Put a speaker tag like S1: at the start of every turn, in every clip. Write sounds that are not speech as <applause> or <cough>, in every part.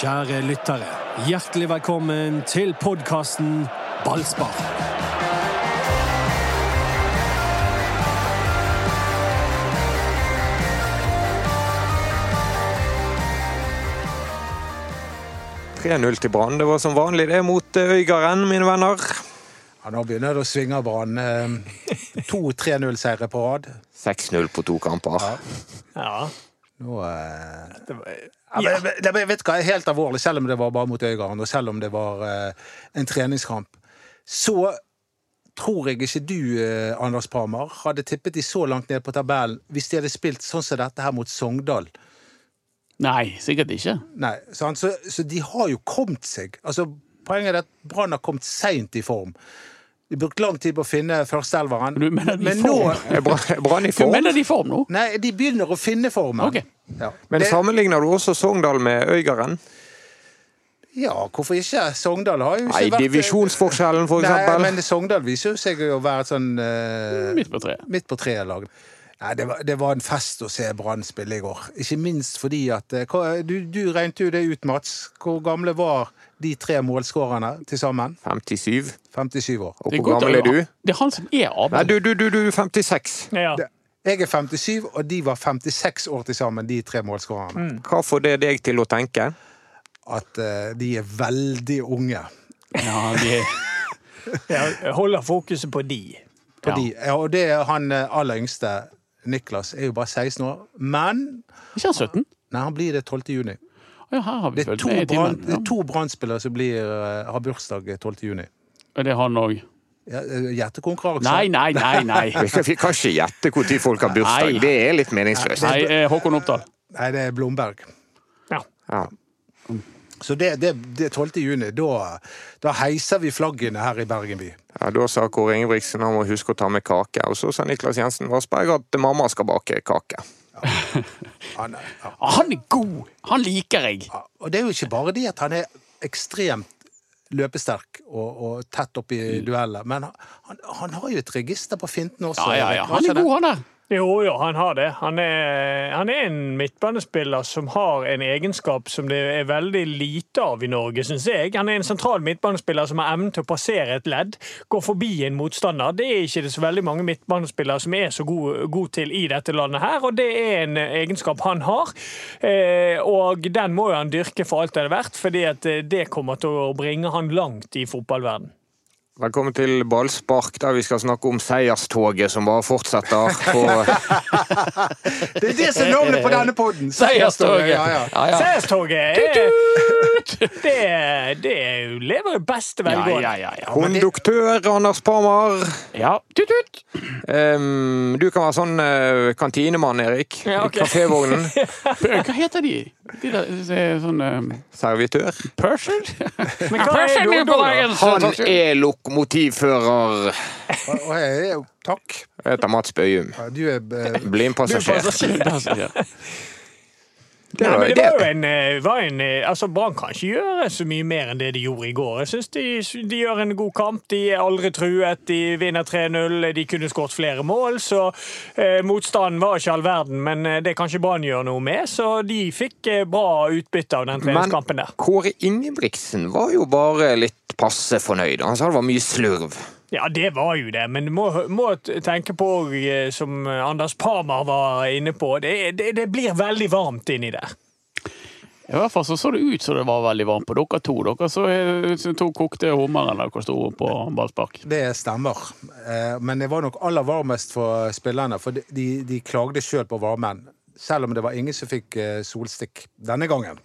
S1: Kjære lyttere, hjertelig velkommen til podkasten Ballspar.
S2: Brann. 3-0 til Brann. Det var som vanlig det mot eh, Øygarden, mine venner.
S3: Ja, nå begynner det å svinge av Brann. Eh, To 3-0-seire på rad.
S2: 6-0 på to kamper.
S1: Ja,
S3: Nå, eh,
S1: det var,
S3: ja, men- men- det, men vet du hva, helt alvorlig, selv om det var bare mot Øygarden, og selv om det var eh, en treningskamp, så tror jeg ikke du, eh, Anders Palmer, hadde tippet de så langt ned på tabellen hvis de hadde spilt sånn som dette her mot Sogndal.
S4: Nei, sikkert ikke.
S3: Nei, sant? Så, så de har jo kommet seg. Altså, poenget er at Brann har kommet seint i form. De brukte lang tid på å finne førsteelveren.
S4: Du mener de
S3: Men
S4: får-
S3: nå
S2: Er Brann- er <laughs> Brann i
S4: Du
S2: form?
S4: mener de form nå?
S3: Nei, de begynner å finne formen.
S4: Ok.
S3: Ja.
S2: Men
S3: det,
S2: sammenligner du også Sogndal med Øygarden?
S3: ja, hvorfor ikke? Sogndal har jo ikke
S2: Nei,
S3: vært eh,
S2: divisjonsforskjellen, for
S3: Nei, men
S2: eksempel. Mm.
S3: Sogndal viser jo seg å være et sånn eh,
S4: Midt på treet.
S3: midt på treet lag. Nei, det var, det var en fest å se Brann spille i går. Ikke minst fordi at eh, hva- Du, du regnet jo det ut, Mats. Hvor gamle var de tre målskårerne til sammen?
S2: 57.
S3: 57 år.
S2: Og
S4: Det
S2: hvor
S4: godt å-
S2: gammel er du?
S4: Det er han som er
S2: Nei,
S4: arbeid.
S2: du, du, du, du er 56.
S4: Ja.
S3: Det- Jeg er 57, og de var 56 år til sammen, de tre målskårerne.
S2: Hva får det deg til å tenke? <laughs>
S3: At eh, de er veldig unge.
S4: Ja, de er,
S5: Jeg holder fokuset på de.
S4: ja.
S3: Fordi, ja, og det er han eh, aller yngste, Niklas, er jo bare 16 år. Men
S4: Ikke han 17?
S3: nei, han blir det 12. juni.
S4: Ja, her har vi
S3: Det er
S4: fulgt
S3: to
S4: med i
S3: Brann-
S4: timen.
S3: det er
S4: Ja.
S3: to Brann-spillere som blir, eh, har bursdag 12. juni.
S4: Er det han òg?
S3: Ja, eh, Hjertekonkurranse.
S4: Nei, nei, nei. nei.
S2: Vi kan vi kan ikke gjette når folk har bursdag.
S4: Nei.
S2: Det er litt meningsløst.
S4: nei eh, Håkon Oppdal.
S3: Nei, det er Blomberg.
S2: Ja.
S3: Så det, det, det er 12. juni. Da, da heiser vi flaggene her i Bergen by.
S2: Ja, da sa Kåre Ingebrigtsen han må huske å ta med kake. Og så sa Niklas Jensen Vassberg at mamma skal bake kake.
S3: Han, ja.
S4: Ah, Han er god! Han liker jeg.
S3: Og det er jo ikke bare det at han er ekstremt løpesterk og, og tett opp i
S4: Mm.
S3: dueller, men han, han har jo et register på finten også.
S4: Ja, ja,
S3: Erik.
S4: ja.
S3: Har
S4: Han
S3: ikke
S4: er
S3: det?
S4: god, han der.
S5: Jo, jo, han har det. Han er, han er en midtbanespiller som har en egenskap som det er veldig lite av i Norge, syns jeg. Han er en sentral midtbanespiller som har evnen til å passere et ledd, gå forbi en motstander. Det er ikke det så veldig mange midtbanespillere som er så gode god til i dette landet her, og det er en egenskap han har. Eh, og den må jo han dyrke for alt det er verdt, fordi at eh, det kommer til å bringe han langt i fotballverden.
S2: Velkommen til Ballspark, der vi skal snakke om seierstoget som bare fortsetter.
S5: <laughs>
S2: På
S3: Det er det som er navnet på denne poden!
S4: Seierstoget.
S3: Ja, ja.
S4: Ja, ja.
S5: Seerstoget er <laughs> det, det er jo- lever i beste
S4: Ja,
S5: velgående.
S4: ja, ja, ja.
S2: konduktør Anders Parmar.
S4: ja. Tut, tut.
S2: Ehm, du kan være sånn eh, kantinemann, Erik.
S5: Ja, ok.
S2: I
S5: <laughs>
S2: kafévognen.
S4: Hva heter de? De der de er sånn eh,
S2: Servitør.
S4: Persian?
S5: Men hva er
S4: Persian
S5: det
S4: er på
S5: da?
S4: veien, så-
S2: Han er lokomotivfører,
S3: Og- og jeg er jo- Takk.
S2: heter Mats Bøyum.
S3: Ja, Du er eh,
S2: Blindpassasjer.
S4: <laughs> Ja.
S2: Det
S5: Nei,
S2: var,
S5: men det
S2: det,
S5: var jo en, eh, var en eh, altså Brann kan ikke gjøre så mye mer enn det de gjorde i går. Jeg synes de, de gjør en god kamp. De er aldri truet. De vinner 3-0. De kunne skåret flere mål, så eh, motstanden var ikke all verden. Men eh, det kan ikke Brann gjøre noe med, så de fikk eh, bra utbytte av den treningskampen
S2: men
S5: der.
S2: Kåre Ingebrigtsen var jo bare litt passe fornøyd. Han sa det var mye slurv.
S5: Ja, det var jo det, men du må, må tenke på, eh, som Anders Parmar var inne på, det, det, det blir veldig varmt inni der.
S4: I hvert fall så så det ut som det var veldig varmt på dere to. Dere så eh, så to kokte hummer eller hvor stor på ballspark.
S3: Det stemmer. Eh, Men det var nok aller varmest for spillerne, for de- de, de klagde sjøl på varmen. Selv om det var ingen som fikk eh, solstikk denne gangen.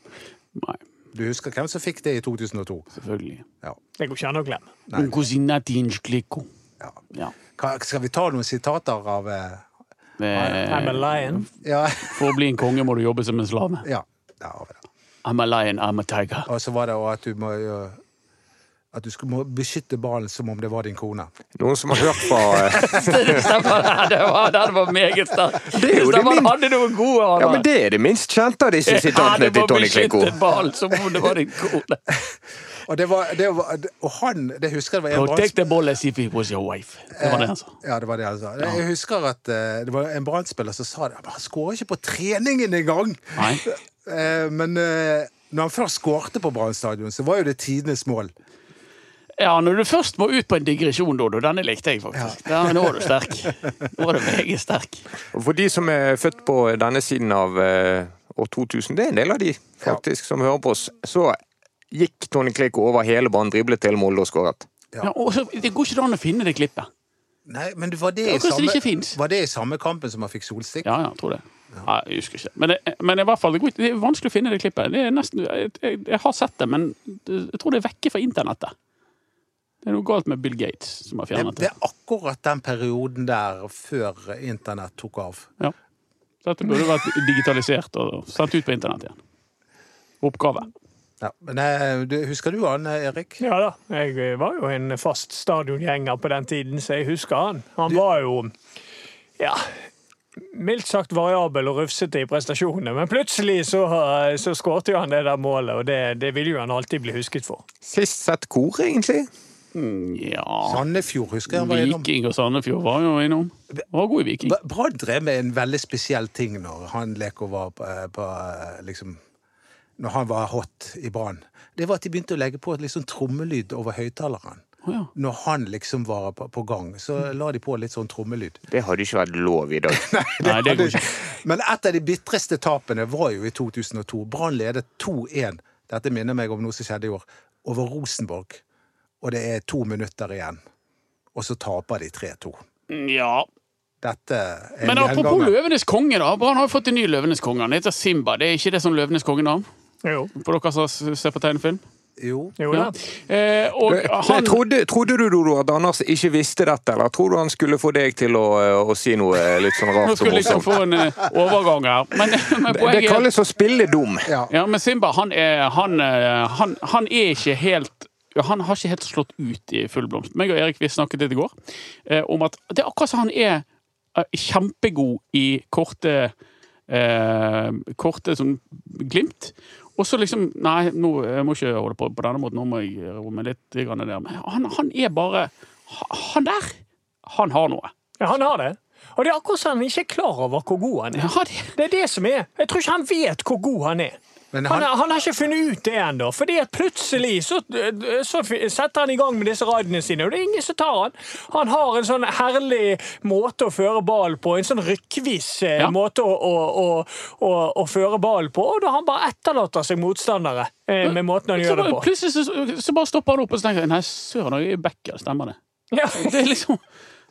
S4: Nei,
S3: Du husker hvem som fikk det i 2002?
S4: selvfølgelig.
S3: Ja.
S5: Det går ikke an å glemme.
S4: Un cosinatins clico.
S3: ja.
S4: Ja. Eh,
S3: Hva- Skal vi ta noen sitater av eh,
S5: I'm a
S4: Eh,
S5: lion.
S3: Ja. <laughs>
S4: For å bli en konge må du jobbe som en slave.
S3: ja. Der har vi det.
S4: I'm a lion, I'm a tiger.
S3: Og så var det også at du må eh, at du skulle, må beskytte ballen som om det var din kone.
S2: Noen som har hørt på
S5: <laughs>
S2: eh,
S4: Det stemmer, det var, <laughs> det var meget sterkt.
S2: Det er jo det
S4: Stefan
S2: min-
S4: hadde noen gode aner.
S2: Ja, men det er det minst kjente av disse sitatene til Tony Klikko.
S4: beskyttet ball som om det var din kone.
S3: Og, det var, det var, og han Det husker jeg det var en
S4: Protect the ball as if it was your wife. Det var det altså. han sa.
S3: Eh, Ja, det var det han sa. Jeg husker at eh, det var en Brann-spiller som sa det. Men han skårer ikke på treningen engang!
S4: Nei.
S3: Eh, men eh, Når han først skårte på Brann stadion, så var jo det tidenes mål.
S4: Ja, når du først må ut på en digresjon, Dodo. Denne likte jeg faktisk. Ja. men nå er du sterk. Nå er du meget sterk.
S2: Og for de som er født på denne siden av eh, år 2000, det er en del av de faktisk som hører på oss, så gikk Tony Kliko over hele banen, driblet til målet og skåret.
S3: Ja.
S4: Ja, og så, det går ikke an å finne det klippet.
S3: Nei, men var det,
S4: Ja,
S3: i
S4: kanskje det
S3: samme,
S4: ikke finnes.
S3: var det i samme kampen som han fikk solstikk?
S4: Ja, ja, tror det. Nei, jeg husker ikke. Men, det, men i hvert fall, det går ikke- det er vanskelig å finne det klippet. Det er nesten, jeg, jeg, jeg har sett det, men det- jeg tror det er vekke fra internettet. Det er noe galt med Bill Gates som har
S3: Det,
S4: fjernet
S3: Eh, det
S4: det.
S3: er akkurat den perioden der før internett tok av.
S4: Ja. Så dette burde vært digitalisert og sendt ut på internett igjen. Oppgave.
S3: Ja, men eh, du, Husker du han, eh, Erik?
S5: Ja da. Jeg eh, var jo en fast stadiongjenger på den tiden, så jeg husker han. Han var jo ja, mildt sagt variabel og rufsete i prestasjonene, men plutselig så, eh, så skårte jo han det der målet, og det, det vil jo han alltid bli husket for.
S2: Sist sett hvor, egentlig?
S4: Ja
S3: Sandefjord, husker jeg
S4: Sånn,
S3: han var innom.
S4: Viking og Sandefjord var jo innom. Var god i Viking.
S3: Bra- Brann drev med en veldig spesiell ting når han Leko var på, eh, på eh, liksom Når han var hot i Brann. Det var at de begynte å legge på et litt sånn trommelyd over høyttaleren.
S4: Å, ja.
S3: Når han liksom var på, på gang, så la de på litt sånn trommelyd.
S2: Det hadde ikke vært lov i dag.
S4: Nei, det går ikke.
S3: <laughs> Men et av de bitreste tapene var jo i 2002. Brann ledet 2-1. Dette minner meg om noe som skjedde i år. Over Rosenborg. Og det er to minutter igjen. Og så taper de 3-2.
S4: Ja.
S3: Dette er en
S4: Men apropos
S3: gjenganger.
S4: Løvenes konge, da. Brann har jo fått en ny Løvenes konge. Han heter Simba. Det er ikke det som Løvenes konge-navn?
S5: Jo,
S4: For dere som ser på tegnefilm?
S3: Jo.
S5: jo
S4: Ja.
S5: da.
S4: Eh,
S2: <laughs>
S4: og
S2: Men
S4: han
S2: Trodde, trodde du Dodo, at Anders ikke visste dette, eller tror du han skulle få deg til å, eh, å si noe litt sånn
S4: Nå
S2: rart og
S4: skulle jeg liksom
S2: morsomt?
S4: få en eh, overgang her. Men, <laughs> men
S2: Det
S4: poenget er
S2: kalles å spille dum.
S3: Ja.
S4: ja, men Simba, han er, han, eh, han, han er ikke helt han har ikke helt slått ut i full blomst. Meg og Erik vi snakket litt i går eh, om at det er akkurat som han er eh, kjempegod i korte eh, Korte sånn glimt. Og så liksom Nei, nå jeg må ikke holde på på denne måten. Nå må jeg roe meg litt. Grann der. Men han, han er bare Han der! Han har noe.
S5: Ja, han har det. Og det er akkurat som han ikke er klar over hvor god han er.
S4: Ja, det,
S5: Det er det som er. Jeg tror ikke han vet hvor god han er.
S3: Men
S5: Han,
S3: han-
S5: han har ikke funnet ut det ennå, fordi at plutselig så, så f- setter han i gang med disse raidene sine, og det er ingen som tar han. Han har en sånn herlig måte å føre ball på, en sånn rykkvis eh,
S4: Ja.
S5: måte å, å, å, å, å føre ball på, og da han bare etterlater seg motstandere eh, med måten han
S4: så
S5: gjør det
S4: bare,
S5: på.
S4: plutselig så, så bare stopper han opp og så tenker jeg, Nei, søren, jeg er backer, stemmer det?
S5: Ja.
S4: Det er liksom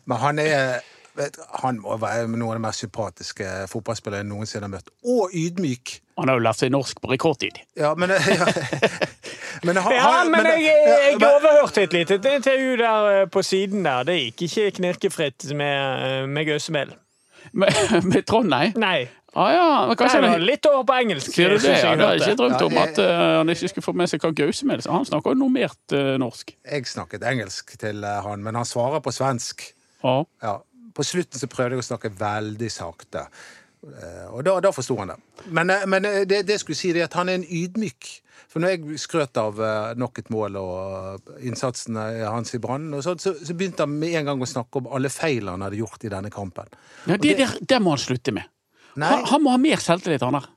S3: Men han er vet, Han må være noen av de mest sympatiske fotballspillere jeg noensinne har møtt. Og ydmyk!
S4: Han har jo lært seg norsk på rekordtid.
S3: Ja, men ja. <laughs> Men, han-
S5: Ja,
S3: han-
S5: men jeg, eh, jeg
S3: men-
S5: overhørte et lite intervju der eh, på siden der. Det gikk ikke knirkefritt med, eh, med Gausemel.
S4: Med, med Trondheim?
S5: Nei.
S4: Ah, ja, men
S5: Det
S4: kanskje
S5: var
S4: han
S5: litt over på engelsk. eh,
S4: Sier du det?
S5: synes jeg
S4: Ja, det har jeg
S5: hørte.
S4: ikke drømt
S3: Ja,
S4: om
S3: jeg-
S4: at eh, han ikke skulle få med seg hva Gause med seg. Han snakker jo normert eh, norsk.
S3: jeg snakket engelsk til eh, han, men han svarer på svensk.
S4: Ja.
S3: Ja. På slutten så prøvde jeg å snakke veldig sakte, Eh, og da, da forsto han det. Men, eh, men eh, det, det jeg skulle si, det er at han er en ydmyk. For når jeg skrøt av eh, nok et mål og innsatsen eh, hans i Brann, og sånt, så, så begynte han med en gang å snakke om alle feil han hadde gjort i denne kampen.
S4: Ja, det, der, det må han slutte med.
S3: Nei.
S4: Han, han må ha mer selvtillit, han der.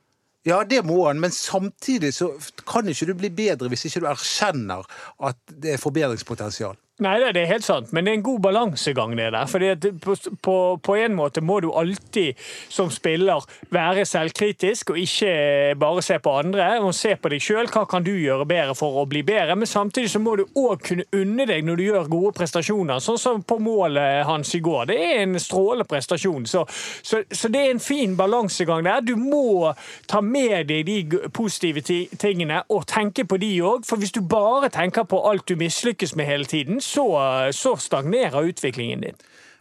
S3: Ja, det må han, men samtidig så kan ikke du bli bedre hvis ikke du erkjenner at det er forbedringspotensial.
S5: Nei, det det er helt sant, men det er en god balansegang, det der. Fordi at på, på, på en måte må du alltid som spiller være selvkritisk, og ikke bare se på andre. Og se på deg sjøl, hva kan du gjøre bedre for å bli bedre? Men samtidig så må du òg kunne unne deg når du gjør gode prestasjoner, sånn som på målet hans i går. Det er en strålende prestasjon, så, så, så det er en fin balansegang der. Du må ta med deg de g- positive ti- tingene og tenke på de òg, for hvis du bare tenker på alt du mislykkes med hele tiden, så, så stagnerer utviklingen din.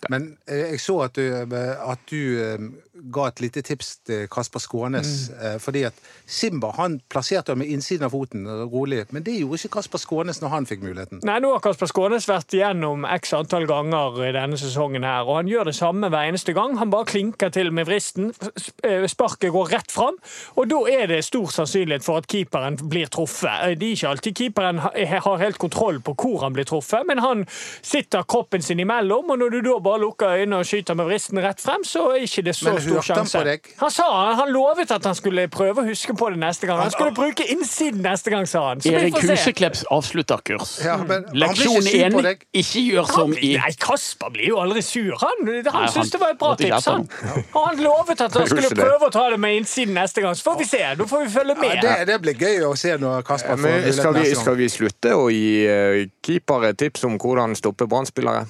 S3: Men eh, jeg så at du, eh, at du eh, ga et lite tips til Kasper Skånes. eh, Fordi at Simba han plasserte ham med innsiden av foten eh, rolig, men det gjorde ikke Kasper Skånes når han fikk muligheten.
S5: Nei, Nå har Kasper Skånes vært gjennom x antall ganger i denne sesongen, her, og han gjør det samme hver eneste gang. Han bare klinker til med vristen. sp- eh, Sparket går rett fram, og da er det stor sannsynlighet for at keeperen blir truffet. Eh, Det er ikke alltid keeperen eh, ha- har helt kontroll på hvor han blir truffet, men han sitter kroppen sin imellom, og når du da bare lukker øynene og skyter med vristen rett frem, så er ikke det så
S3: Men
S5: stor
S3: hørte han
S5: sjanse.
S3: på deg?
S5: Han sa han lovet at han skulle prøve å huske på det neste gang. Han skulle bruke innsiden neste gang, sa han. Så vi
S4: Erik
S5: får se.
S4: Huseklepps avslutterkurs.
S3: Ja, men han blir ikke
S4: Leksjon
S3: sur
S4: én
S3: på deg.
S4: ikke gjør
S5: Han,
S4: som i
S5: nei, Kasper blir jo aldri sur. Han, han
S4: han
S5: syntes det var et bra
S4: måtte ikke sånn.
S5: tips,
S4: etter
S5: han. Og han lovet at han
S2: Jeg
S5: skulle
S2: husker det.
S5: prøve å ta det med innsiden neste gang. Så får vi se. Da får vi følge
S3: Ja,
S5: med.
S3: det, det blir gøy å se når Kasper får
S2: Eh, Men skal,
S3: Altså, mulighet
S2: vi,
S3: neste
S2: skal
S3: gang.
S2: vi slutte å gi eh, keepere tips om hvordan stoppe brannspillere?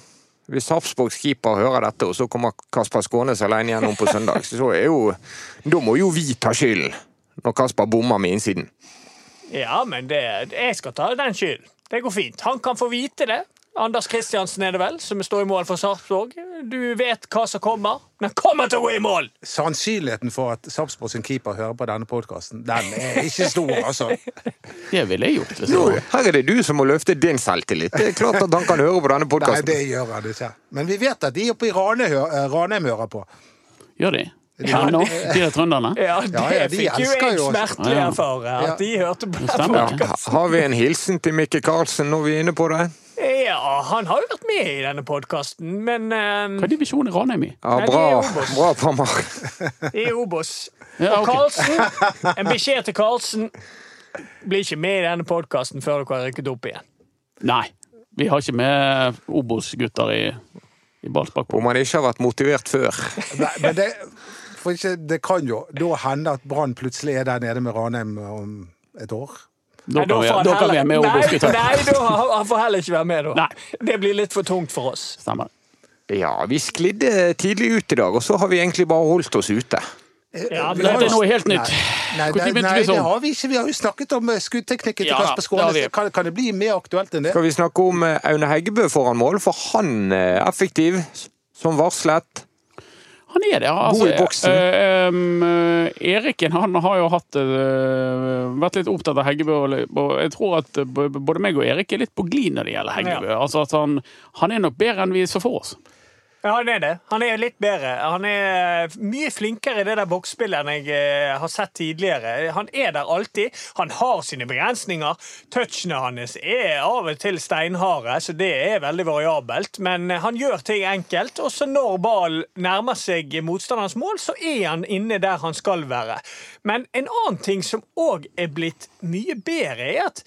S2: Hvis Sarpsborgs keeper hører dette, og så kommer Kasper Skånes alene gjennom på søndag, så er jo Da må jo vi ta skylden, når Kasper bommer med innsiden.
S5: Ja, men det, jeg skal ta den skylden. Det går fint. Han kan få vite det. Anders Kristiansen er det vel, som står i mål for Sarpsborg. Du vet hva som kommer. Men han kommer til å gå i mål!
S3: Sannsynligheten for at Sarpsborg sin keeper hører på denne podkasten, den er ikke stor, altså.
S4: Det ville jeg gjort. Hvis
S2: Nå,
S4: jeg var.
S2: her er det du som må løfte din selvtillit. Det er klart at han kan høre på denne
S3: <laughs> Nei,
S2: podkasten.
S3: det gjør han ikke. Men vi vet at de oppe i Rane hø- eh, Ranheim hører på.
S4: Gjør de? Ja, nå, de der trønderne?
S5: Ja, det
S3: Ja, ja, de
S5: fikk jo
S3: elsker
S5: jeg
S3: jo oss.
S5: smertelig
S4: Ja, ja.
S5: erfare.
S3: Ja.
S5: At de hørte på
S4: Det stemmer
S5: den.
S4: ikke.
S2: Ha- Har vi en hilsen til Mikke Karlsen når vi er inne på det?
S5: Ja, han har jo vært med i denne podkasten, men
S4: Hva
S5: eh,
S4: er divisjonen i Ranheim i?
S2: Ja,
S5: Nei, det er
S2: bra,
S5: Obos.
S2: bra Pamar.
S5: i Obos.
S4: Ja,
S5: Og
S4: ok.
S5: Karlsen, en beskjed til Karlsen blir ikke med i denne podkasten før dere har rykket opp igjen.
S4: Nei, vi har ikke med Obos-gutter i, i ballspark.
S2: Om han ikke har vært motivert før.
S3: Nei, men det, for ikke, det kan jo da hende at Brann plutselig er der nede med Ranheim om et år.
S4: Da
S5: Nei,
S4: kan
S5: da
S4: vi,
S5: får han
S4: da kan vi
S5: heller-
S4: ha med Obos-gutter.
S5: Nei, nei da, han han får heller ikke være med da.
S4: Nei.
S5: Det blir litt for tungt for oss.
S4: Stemmer.
S2: Ja, vi sklidde tidlig ut i dag, og så har vi egentlig bare holdt oss ute.
S5: Ja, men
S4: Dette er
S5: det-
S4: noe helt nytt.
S3: Nei, det,
S4: Når begynte
S3: nei,
S4: vi
S3: det
S4: sånn?
S3: har vi ikke. Vi har jo snakket om eh, skuddteknikken til
S4: Ja,
S3: Kasper
S4: det har
S3: Skånes.
S4: vi.
S3: Kan, kan det bli mer aktuelt enn det?
S2: Skal vi snakke om eh, Aune Heggebø foran mål, for han eh, er effektiv, s- som varslet.
S4: Han er det. Altså,
S2: God i boksen.
S4: eh, em, eh, Eriken han har jo hatt, eh, vært litt opptatt av Heggebø. og litt- og Jeg tror at eh, b- både meg og Erik er litt på glid når det gjelder Heggebø. Altså at han, han er nok bedre enn vi så for oss.
S5: Ja, han er det. Han er litt bedre. Han er mye flinkere i det der boksspillet enn jeg eh, har sett tidligere. Han er der alltid. Han har sine begrensninger. Touchene hans er av og til steinharde, så det er veldig variabelt. Men eh, han gjør ting enkelt, og så når ballen nærmer seg motstanderens mål, så er han inne der han skal være. Men en annen ting som òg er blitt mye bedre, er at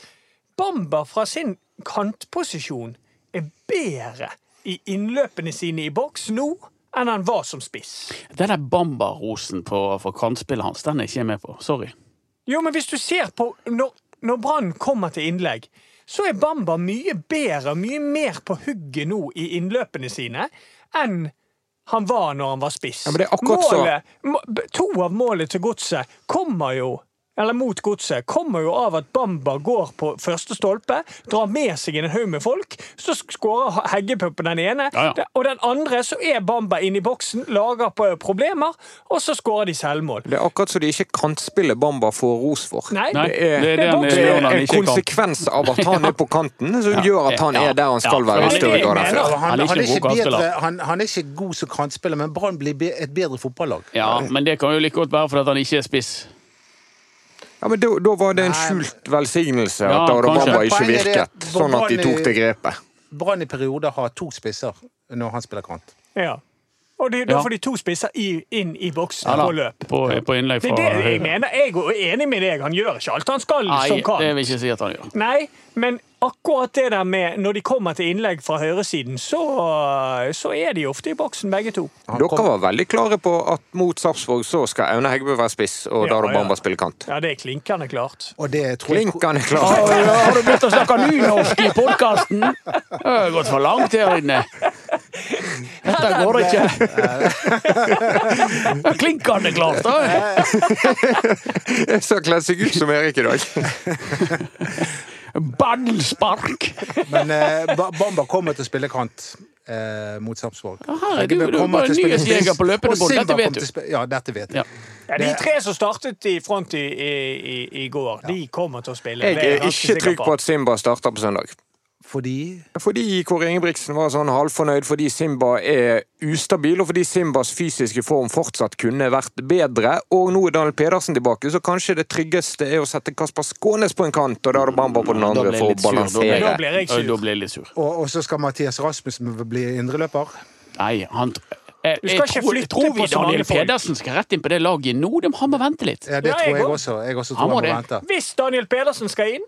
S5: Bamba fra sin kantposisjon er bedre i innløpene sine i boks nå enn han var som spiss.
S4: Den der Bamba-rosen på- for kantspillet hans, den er ikke jeg med på. Sorry.
S5: Jo, men hvis du ser på når, når Brann kommer til innlegg, så er Bamba mye bedre, mye mer på hugget nå i innløpene sine enn han var når han var spiss.
S2: Ja, men det er akkurat så-
S5: Målet- må- b- To av målet til godset kommer jo eller mot godset, kommer jo av at Bamba går på første stolpe, drar med seg en haug med folk, så sk- skårer Heggebø på den ene,
S4: Ja, ja.
S5: og den andre så er Bamba inne i boksen, lager på problemer, og så skårer de selvmål.
S2: Det er akkurat så de ikke kan spille Bamba får ros for.
S5: Nei,
S4: Nei,
S2: Det er- eh,
S4: det er
S5: det
S4: det
S5: er
S4: han
S5: boksen.
S2: Det
S4: gjør
S2: er
S4: når han
S2: en
S4: ikke er kant.
S2: konsekvens av at
S4: <laughs>
S2: han er på kanten, som gjør at han
S4: Ja.
S2: er der han skal
S4: Ja,
S2: være i
S4: for
S2: større grad. enn
S5: mener.
S2: før.
S3: Han, han,
S4: Han er
S3: er
S4: ikke en
S3: ikke
S4: god kantspiller.
S3: bedre, han, han er ikke god som kantspiller, men Brann blir be, et bedre fotballag.
S4: Ja, men det kan jo like godt være fordi at han ikke er spiss.
S2: Ja, men da, da var det en
S3: Nei.
S2: skjult velsignelse
S4: Ja,
S2: at da
S4: kanskje.
S2: Bamba
S4: Men
S2: ikke
S3: poenget er det at
S2: virket, sånn at de
S3: Brann-
S2: tok det grepet.
S3: Brann i perioder har to spisser når han spiller kant.
S5: Ja. Og de, da
S4: Ja.
S5: får de to spisser i, inn i boksen
S4: Ja da,
S5: på løp.
S4: På, på innlegg
S5: Det
S4: fra
S5: er det jeg
S4: høyre.
S5: mener. Jeg er enig med deg. Han gjør ikke alt han skal
S4: Nei,
S5: som
S4: det
S5: kan.
S4: vil jeg ikke si at han gjør.
S5: Nei, men akkurat det der med når de kommer til innlegg fra høyresiden, så, så er de ofte i boksen, begge to.
S3: Han
S2: Dere
S3: kom-
S2: var veldig klare på at mot Sarpsborg så skal Aune Heggebø være spiss, og da
S5: Ja,
S2: er det
S5: ja.
S2: Bamba spiller kant.
S5: Ja, det er klinkende klart.
S3: og det tror jeg
S2: Klinkende klar.
S4: Har du begynt å snakke nynorsk i podkasten? Det har gått for langt her inne. Dette går ikke. Klinkende klart, da.
S2: Jeg <laughs> så kledd seg ut som Erik i dag.
S4: Ballspark.
S3: Men eh, Ba- Bamba kommer til å spille kant eh, mot Sarpsborg.
S4: Ja, her er
S3: Heggebø
S4: du- du er
S3: kommer
S4: bare
S3: til å spille
S4: nyhetsjeger
S3: spiss,
S4: på løpende
S3: og
S4: bånd. Dette
S3: Silva
S4: vet
S3: kommer
S4: du.
S3: til å spille- Ja, dette vet
S4: Ja.
S3: jeg.
S5: Ja, de tre som startet i front i, i, i går, de kommer til å spille.
S2: Jeg
S5: Det
S2: er
S5: ganske
S2: ikke
S5: sikker
S2: trygg på at Simba starter på søndag.
S3: Fordi
S2: Fordi Kåre Ingebrigtsen var sånn halvfornøyd fordi Simba er ustabil, og fordi Simbas fysiske form fortsatt kunne vært bedre. Og nå er Daniel Pedersen tilbake, så kanskje det tryggeste er å sette Kasper Skånes på en kant, og da er det Bamba på den
S4: Da
S2: andre
S4: ble jeg
S2: for å
S4: litt sur. Da ble jeg-
S2: balansere.
S5: Da blir jeg sur.
S4: Da ble jeg litt sur.
S3: Og, og så skal Mathias Rasmussen bli indreløper.
S4: Nei, han jeg,
S5: Du skal
S4: jeg
S5: ikke
S4: tror,
S5: flytte
S4: tror
S5: på
S4: vi
S5: så mange
S4: Daniel
S5: folk.
S4: Pedersen skal rett inn på det laget nå. De- Han må vente litt.
S3: Ja, det
S5: Ja,
S3: tror
S5: jeg
S3: jeg
S5: òg.
S3: også. Jeg også
S4: Han
S3: tror
S4: må
S3: han må
S4: det.
S3: vente.
S5: Hvis Daniel Pedersen skal inn,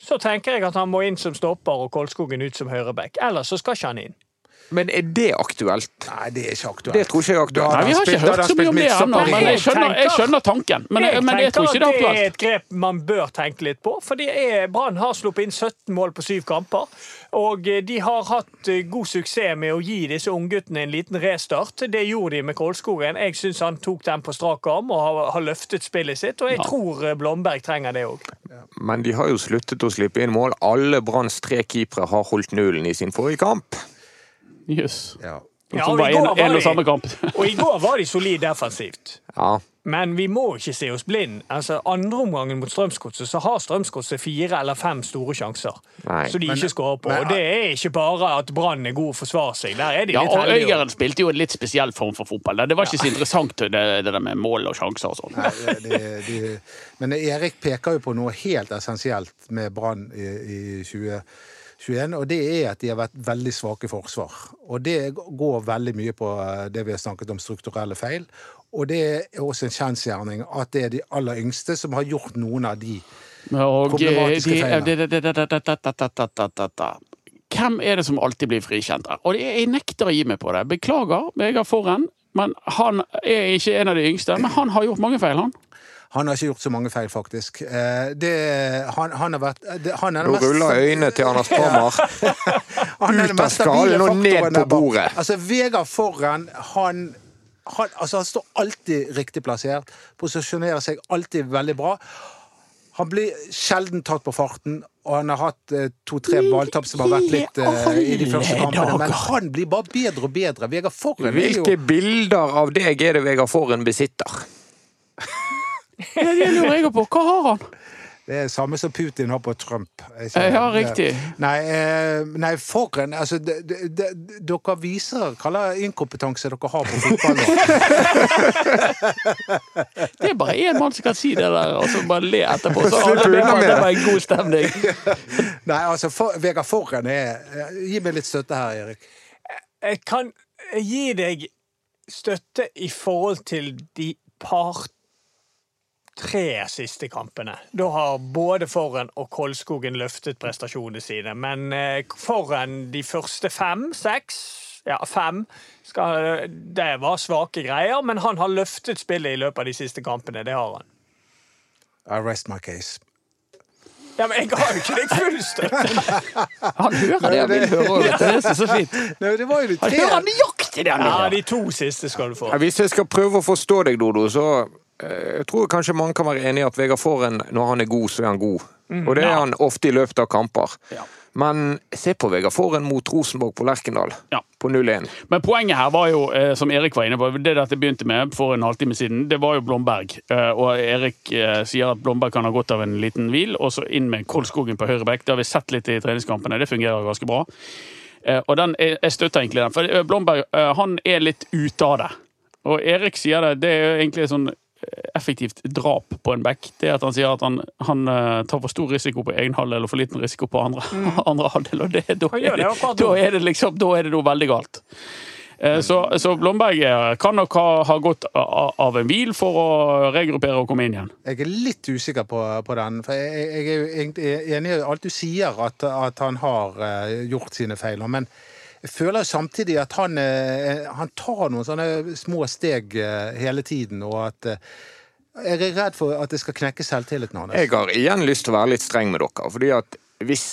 S5: så tenker jeg at han må inn som stopper og Kolskogen ut som høyreback. Ellers så skal ikke han inn.
S2: Men er det aktuelt?
S3: Nei, det er ikke aktuelt.
S2: Det tror ikke jeg er aktuelt.
S4: Nei, Vi har
S3: spilt- da
S4: ikke
S3: har
S4: hørt
S3: han
S4: så mye om det
S3: spilt
S4: ennå,
S3: midtstopper i-
S4: men jeg skjønner, jeg
S5: Jeg
S4: skjønner tanken. Men jeg, men jeg tror ikke det er
S5: tenker at det er
S4: aktuelt.
S5: et grep man bør tenke litt på. For det er- Brann har sluppet inn 17 mål på syv kamper. Og eh, de har hatt eh, god suksess med å gi disse ungguttene en liten restart. Det gjorde de med Kolskogen. Jeg syns han tok den på strak arm og har, har løftet spillet sitt. Og jeg
S4: Ja.
S5: tror eh, Blomberg trenger det òg.
S2: Men de har jo sluttet å slippe inn mål. Alle Branns tre keepere har holdt nullen i sin forrige kamp.
S4: Jøss.
S3: Ja.
S5: Ja,
S4: Som
S5: og i
S4: var
S5: går
S4: en,
S5: var
S4: en og
S5: de-
S4: samme kamp.
S5: Og i går var de solid defensivt.
S2: Ja,
S5: Men vi må ikke se oss blind. Altså, andre omgangen mot Strømsgodset så har Strømsgodset fire eller fem store sjanser
S2: Nei.
S5: som de
S3: Men-
S5: ikke skårer på.
S3: men-
S5: og det er ikke bare at Brann er god å forsvare seg. Der er de
S4: Ja,
S5: litt
S4: og
S5: heldige.
S4: Øyeren spilte jo en litt spesiell form for fotball. Det var ikke så interessant, det, det der med mål og sjanser og sånn.
S3: Nei, det- det- Men Erik peker jo på noe helt essensielt med Brann i, i 2021, og det er at de har vært veldig svake i forsvar. Og det går veldig mye på eh, det vi har snakket om, strukturelle feil. Og det er også en kjensgjerning at det er de aller yngste som har gjort noen av de.
S4: Og eh,
S3: Problematiske
S4: de,
S3: feil,
S4: de, de, de, de, de, de, de, de, de, de, de. Hvem er det som alltid blir frikjent her? Og det- jeg nekter å gi meg på det. Beklager, Vegard Forhen. Men han er ikke en av de yngste. Men han har gjort mange feil, han.
S3: Han har ikke gjort så mange feil, faktisk. Eh, Det, han, han har vært det, han er den
S2: Nå
S3: mest-
S2: ruller øynene til Anders Parmar.
S3: Han
S2: Ut
S3: er den
S2: av
S3: mest stabile
S2: skallen og ned
S3: faktoren
S2: på
S3: der bak.
S2: bordet.
S3: Altså, Vegard Forhen, han han, altså, han står alltid riktig plassert, posisjonerer seg alltid veldig bra. Han blir sjelden tatt på farten, og han har hatt eh, to-tre balltap som har vært litt eh, i de første kampene, men han blir bare bedre og bedre. Vegard Forhen er jo
S2: Hvilke bilder av deg er det Vegard Forhen besitter?
S4: Ja, det lurer jeg på. Hva har han?
S3: Det er samme som Putin har på Trump. Jeg
S4: Eh,
S3: kjenner
S4: ja,
S3: det.
S4: riktig.
S3: Nei, eh, nei Forhen altså, det- det- det- Dere viser hva slags inkompetanse dere har på fotball nå.
S4: Det er bare én mann som kan si det der, og så bare le etterpå. Så
S2: Slipp
S4: alle
S2: unna
S4: vet at
S2: med
S4: det
S2: det.
S4: var en god stemning.
S3: Nei, altså, for, Vegard Forhen er eh, Gi meg litt støtte her, Erik.
S5: Jeg kan gi deg støtte i forhold til de par tre siste kampene. Da har både Forhen og Kolskogen løftet prestasjonene sine. Men eh, Forhen de første fem, seks ja, fem. Skal, det var svake greier, men han har løftet spillet i løpet av de siste kampene. Det har han.
S3: I rest my case.
S5: Ja, Men jeg ga jo ikke deg full
S4: <laughs>
S5: støtte!
S4: Han hører det han vil høre. og vet du, Det er så- så fint.
S3: Nei, det var jo de
S4: Han
S3: tre.
S4: hører nøyaktig det han vil
S5: Ja,
S4: høre.
S5: De to siste skal du få.
S2: Ja, Hvis jeg skal prøve å forstå deg, Dodo, så eh, jeg tror jeg kanskje mange kan være enig i at Vegard Forhen, når han er god, så er han god.
S4: Mm.
S2: Og det er han ofte i løpet av kamper. Men se på Vegard Forhen mot Rosenborg på Lerkendal,
S4: Ja.
S2: på 0-1.
S4: Men poenget her var jo, eh, som Erik var inne på, det dette begynte med for en halvtime siden, det var jo Blomberg. Eh, og Erik eh, sier at Blomberg kan ha godt av en liten hvil, og så inn med Kolskogen på høyre bekk. Det har vi sett litt i treningskampene, det fungerer ganske bra. Eh, og den, jeg jeg støtter egentlig den, for eh, Blomberg eh, han er litt ute av det. Og Erik sier det, det er jo egentlig et sånn eh, effektivt drap på en back. Det at han sier at han, han eh, tar for stor risiko på egen halvdel og for liten risiko på andre, <laughs> andre halvdel. Og det, da,
S5: Mm. Han gjør
S4: er
S5: det
S4: det,
S5: akkurat
S4: da
S5: nå.
S4: er det liksom, da er det noe veldig galt. Eh, Så, så Blomberg eh, kan nok ha, ha gått a- av en hvil for å regruppere og komme inn igjen.
S3: Jeg er litt usikker på, på den. For jeg, jeg- jeg er jo egentlig enig i alt du sier, at, at han har eh, gjort sine feiler. Men jeg føler jo samtidig at han, eh, han tar noen sånne små steg eh, hele tiden, og at eh, Jeg er redd for at det skal knekke selvtilliten hans.
S2: Jeg har igjen lyst til å være litt streng med dere. fordi at hvis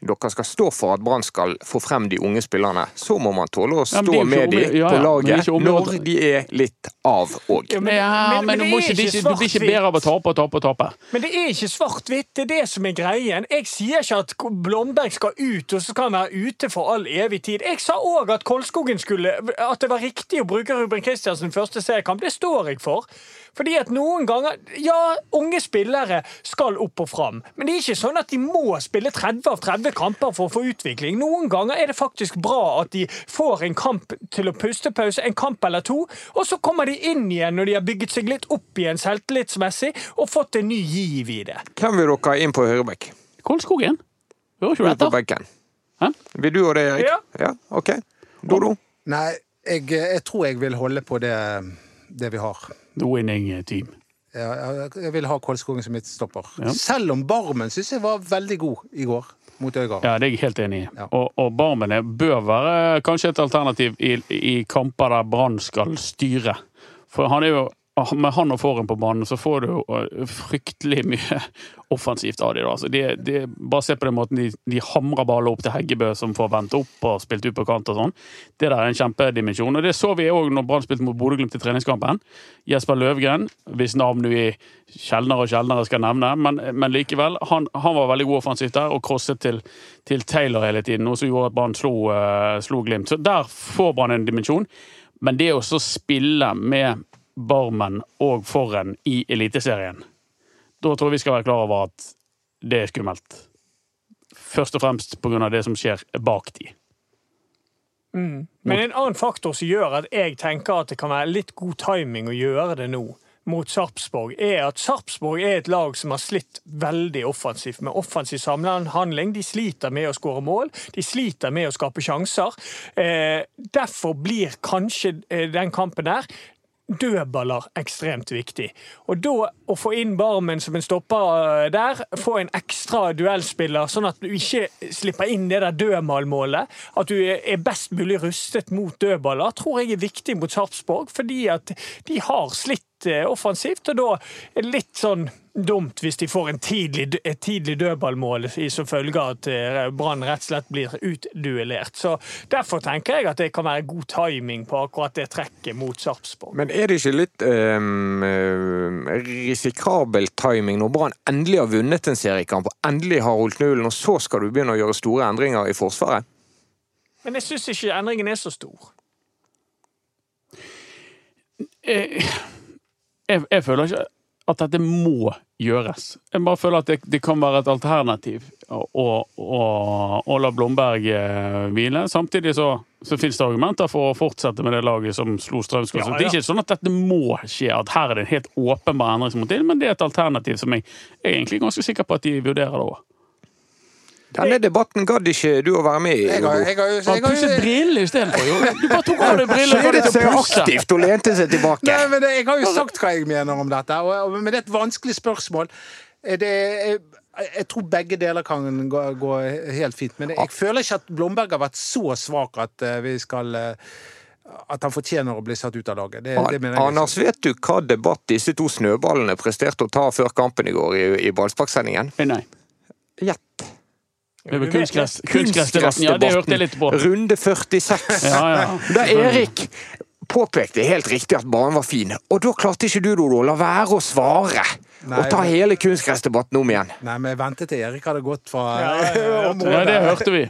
S2: dere skal stå for at Brann skal få frem de unge spillerne, så må man tåle å
S4: Ja,
S2: stå
S4: men det
S2: med de
S4: er jo ikke om- ja, ja,
S2: på
S4: men det er
S2: laget
S4: ikke om-
S2: når de er litt av òg.
S5: Ja,
S4: Ja, men, du, må ikke, det er ikke- du blir ikke bedre av å tape og tape og tape.
S5: Men det er ikke svart-hvitt, det er det som er greien. Jeg sier ikke at Blomberg skal ut, og så skal han være ute for all evig tid. Jeg sa òg at Kolskogen skulle At det var riktig å bruke Ruben Kristiansen første seriekamp. Det står jeg for. Fordi at noen ganger Ja, unge spillere skal opp og fram, men det er ikke sånn at de må spille 30 av 30 kamper for å få utvikling. Noen ganger er det faktisk bra at de får en kamp til å pustepause, en kamp eller to, og så kommer de inn igjen når de har bygget seg litt opp igjen selvtillitsmessig og fått en ny giv i det.
S2: Hvem vil dere ha inn på høyrebekk?
S4: Kolskogen? Hører ikke du
S2: Ut på
S4: etter?
S2: benken.
S4: Hæ?
S2: Vil du og det, Erik?
S5: Ja.
S2: ja ok. Dodo?
S3: Nei, Jeg, jeg tror jeg vil holde på det, det vi har.
S4: The winning team.
S3: Ja, jeg- jeg vil ha Kolskogen som midtstopper.
S4: Ja.
S3: Selv om Barmen syns jeg var veldig god i går mot Øygarden.
S4: Ja, det er jeg helt enig i.
S3: Ja.
S4: Og, og Barmene bør være kanskje et alternativ i, i kamper der Brann skal styre. For han er jo ah, med han og Foren på banen, så får du jo eh, fryktelig mye <laughs> offensivt av dem. Altså, de, de, bare se på den måten de, de hamrer baller opp til Heggebø, som får vendt opp og spilt ut på kant og sånn. Det der er en kjempedimensjon. Og det så vi òg når Brann spilte mot Bodø-Glimt i treningskampen. Jesper Løvgren, hvis navn vi sjeldnere og sjeldnere skal nevne, men, men likevel. Han, han var veldig god offensivt der og crosset til, til Taylor hele tiden, noe som gjorde at Brann slo, eh, slo Glimt. Så der får Brann en dimensjon. Men det å så spille med Barmen og Forren i Eliteserien, da tror jeg vi skal være klar over at det er skummelt. Først og fremst pga. det som skjer bak de.
S5: Men en annen faktor som gjør at jeg tenker at det kan være litt god timing å gjøre det nå mot Sarpsborg, er at Sarpsborg er et lag som har slitt veldig offensivt med offensiv samhandling. De sliter med å skåre mål, de sliter med å skape sjanser. Eh, derfor blir kanskje eh, den kampen der dødballer ekstremt viktig. Og da å få inn Barmen som en stopper eh, der, få en ekstra duellspiller, sånn at du ikke slipper inn det der dødballmålet, at du er er best mulig rustet mot dødballer, tror jeg er viktig mot Sarpsborg, fordi at de har slitt eh, offensivt, og da er det litt sånn dumt hvis de får en tidlig, dø- et tidlig dødballmål i- som følge av at eh, Brann rett og slett blir utduellert. Så derfor tenker jeg at det kan være god timing på akkurat det trekket mot Sarpsborg.
S2: Men er det ikke litt ehm, eh, risikabel timing når Brann endelig har vunnet en seriekamp og endelig har holdt nullen, og så skal du begynne å gjøre store endringer i Forsvaret?
S5: Men jeg syns ikke endringen er så stor.
S4: jeg, jeg, jeg føler ikke at dette må gjøres. Jeg bare føler at det, det kan være et alternativ å, å, å la Blomberg eh, hvile. Samtidig så, så finnes det argumenter for å fortsette med det laget som slo Strømskog.
S5: Ja,
S4: Så Det er
S5: ja.
S4: ikke sånn at dette må skje, at her er det en helt åpenbar endring som må til, men det er et alternativ som jeg, jeg er egentlig ganske sikker på at de vurderer det òg.
S2: Denne debatten gadd ikke du å være med i.
S3: Jeg har,
S2: Hugo.
S3: jeg har, jeg har,
S4: Han pusset brillene istedenfor, jo! Du bare tok av deg brillene og
S2: Ledet
S4: begynte
S2: seg
S4: å pusse.
S2: aktivt og lente seg tilbake.
S3: Nei, men det- jeg har jo
S4: Altså-
S3: sagt hva jeg mener om dette, og, og, men det er et vanskelig spørsmål. Eh, Det, jeg, jeg tror begge deler kan gå, gå helt fint, men jeg føler ikke at Blomberg har vært så svak at eh, vi skal eh, At han fortjener å bli satt ut av laget. Det, det mener jeg.
S2: Anders, vet du hva debatt disse to snøballene presterte å ta før kampen i går i, i Ballsparksendingen?
S4: Nei.
S2: Gjett.
S4: Det var kunstgress, kunstgressdebatten. Ja, det hørte jeg litt på.
S2: Runde 46.
S4: Ja, ja.
S2: Da Erik påpekte helt riktig at banen var fin, og da klarte ikke du, Dodo, å la være å svare.
S3: Nei,
S2: og ta
S3: men-
S2: hele kunstgressdebatten om igjen.
S3: Nei, men jeg ventet til Erik hadde gått fra <laughs>
S5: Ja, ja, ja.
S4: Ja, det hørte vi.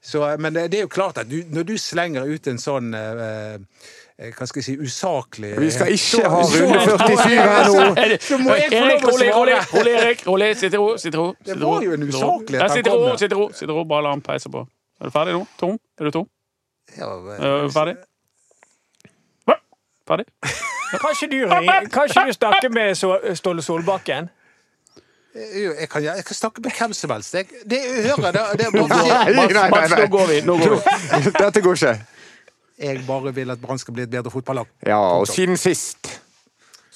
S3: Så, eh, men det, det er jo klart at du, når du slenger ut en sånn eh, eh, Hva skal jeg si Usaklig eh,
S2: Vi skal ikke ha
S3: Så-
S2: runde
S3: så-
S2: 47 her nå.
S3: Så må jeg få lov å svare.
S4: Erik, rolig, rolig, rolig, Erik. Rolig, sitt i ro. Sitt i ro. sitt i
S3: Det
S4: ro,
S3: var jo en
S4: sitt i ro.
S3: usaklighet
S4: Ja,
S3: han
S4: Sitt i
S3: kom
S4: ro,
S3: med.
S4: sitt i ro. sitt i ro, Bare la han peise på. Er du ferdig nå? Tom? Er du tom?
S3: Ja,
S4: Er du ferdig? Hva? Ferdig?
S5: Kanskje du, ringer- <laughs> kanskje du snakker med Så- Ståle Solbakken?
S3: Eh, Jo, Jeg kan, jeg kan snakke med hvem som helst. Jeg, det jeg hører det, det er
S2: Nei,
S3: bare,
S2: nei, nei,
S4: Mats, nå går vi. Nå går vi.
S2: <laughs> Dette går ikke.
S3: Jeg bare vil at Brann skal bli et bedre fotballag.
S2: Ja, og siden sist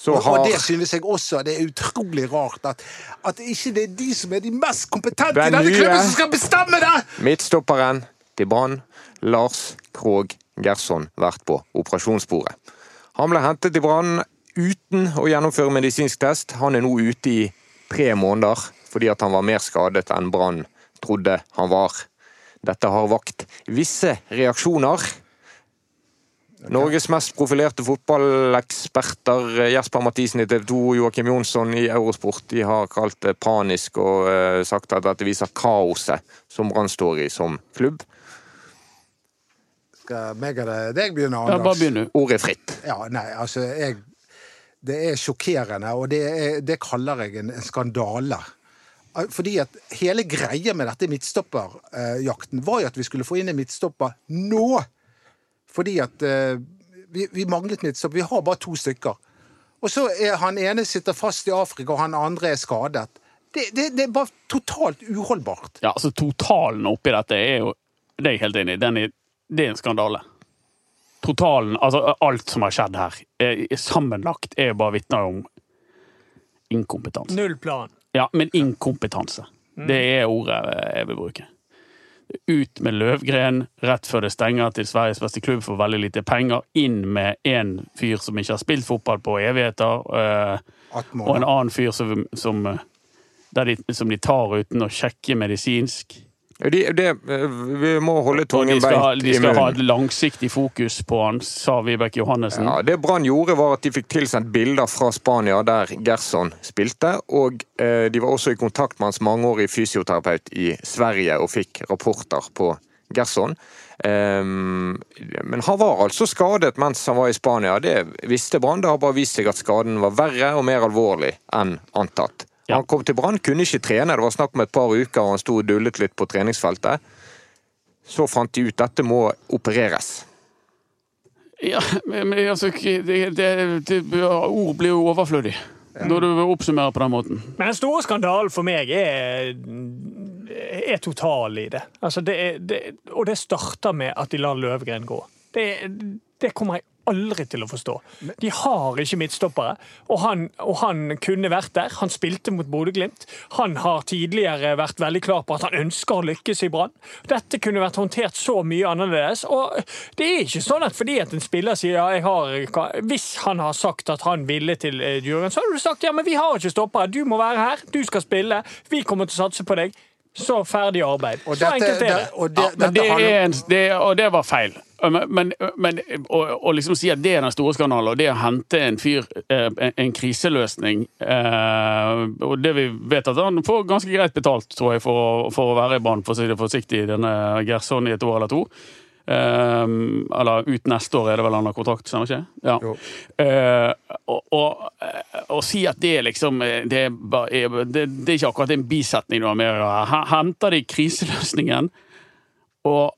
S2: så
S3: Og
S2: har
S3: det synes jeg også. Det er utrolig rart at, at ikke det er de som er de mest kompetente i
S2: Den
S3: denne
S2: nye-
S3: klubben, som skal bestemme det!
S2: midtstopperen til Brann, Lars Krogh Gerson, vært på operasjonsbordet. Han ble hentet til Brann uten å gjennomføre medisinsk test. Han er nå ute i tre måneder fordi at han var mer skadet enn Brann trodde han var. Dette har vakt visse reaksjoner. Norges mest profilerte fotballeksperter eh, Jesper Mathisen i TV 2 og Joakim Jonsson i Eurosport de har kalt det panisk og eh, sagt at dette viser kaoset som Brann står i som klubb.
S3: Skal meg eller deg begynne,
S4: Ja, bare
S3: Anders?
S4: begynn du.
S2: Ordet er fritt.
S3: Ja, nei, altså jeg, Det er sjokkerende, og det, er, det kaller jeg en, en skandale. Ah, Fordi at hele greia med dette midtstopperjakten var jo at vi skulle få inn en midtstopper nå! Fordi at eh, vi, vi manglet midtstopper. Vi har bare to stykker. Og så er han ene sitter fast i Afrika, og han andre er skadet. Det, det, det er bare totalt uholdbart.
S4: Ja, altså, totalen oppi dette er jo Det er jeg helt enig i. Den er, det er en skandale. totalen, altså alt som har skjedd her, eh, sammenlagt, er jo bare vitner om inkompetanse.
S5: Null plan.
S4: Ja, men inkompetanse.
S2: Mm.
S4: Det er ordet eh, jeg vil bruke. Ut med Løvgren rett før det stenger til Sveriges beste klubb for veldig lite penger. Inn med en fyr som ikke har spilt fotball på evigheter, eh,
S3: At
S4: og en
S3: måneder.
S4: annen fyr som, som, eh, der de, som de tar uten å sjekke medisinsk.
S2: De, det- vi må holde
S4: Og de
S2: tungen
S4: skal,
S2: beint
S4: de
S2: i
S4: skal ha et
S2: munnen.
S4: langsiktig fokus på han, sa Vibeke Johannessen.
S2: Ja, det Brann gjorde, var at de fikk tilsendt bilder fra Spania der Gerson spilte. Og eh, de var også i kontakt med hans mangeårige fysioterapeut i Sverige og fikk rapporter på Gerson. Ehm, men han var altså skadet mens han var i Spania. Det visste Brann. Det har bare vist seg at skaden var verre og mer alvorlig enn antatt.
S4: Ja.
S2: Han kom til Brann, kunne ikke trene. Det var snakk om et par uker, og han sto og dullet litt på treningsfeltet. Så fant de ut dette må opereres.
S4: Ja, men men altså, det, det, det, ord blir jo overflødig når du oppsummerer på den måten.
S5: Men den store skandalen for meg er, er total i det. Altså det, er, det. Og det starter med at de lar Løvgren gå. Det, det kommer jeg aldri til å forstå. De har ikke midtstoppere, og han, og han kunne vært der. Han spilte mot Bodø-Glimt. Han har tidligere vært veldig klar på at han ønsker å lykkes i Brann. Dette kunne vært håndtert så mye annerledes. Og det er ikke sånn at fordi at en spiller sier ja, jeg har Hvis han har sagt at han ville til eh, Djurgården, så hadde du sagt ja, men vi har ikke stoppere. Du må være her. Du skal spille. Vi kommer til å satse på deg. Så ferdig arbeid.
S3: Og
S5: så
S3: dette,
S5: enkelt er det.
S3: og
S4: Ja,
S3: det,
S4: men det
S3: dette handler
S4: er en, det, og det var feil. Men- Men, men å, å liksom si at det er den store skandalen, og det å hente en fyr eh, en, en kriseløsning eh, Og det vi vet at han får ganske greit betalt, tror jeg, for, å- for å være i Brann, for å si det forsiktig, denne Gerson i et år eller to. Eh, eller ut neste år er det vel han har kontrakt, stemmer ikke? det? Ja.
S3: Jo.
S4: Eh, og, og, og si at det er liksom eh, det er, bare- er- det, det er ikke akkurat en bisetning du har med å gjøre. Her Henter de kriseløsningen, og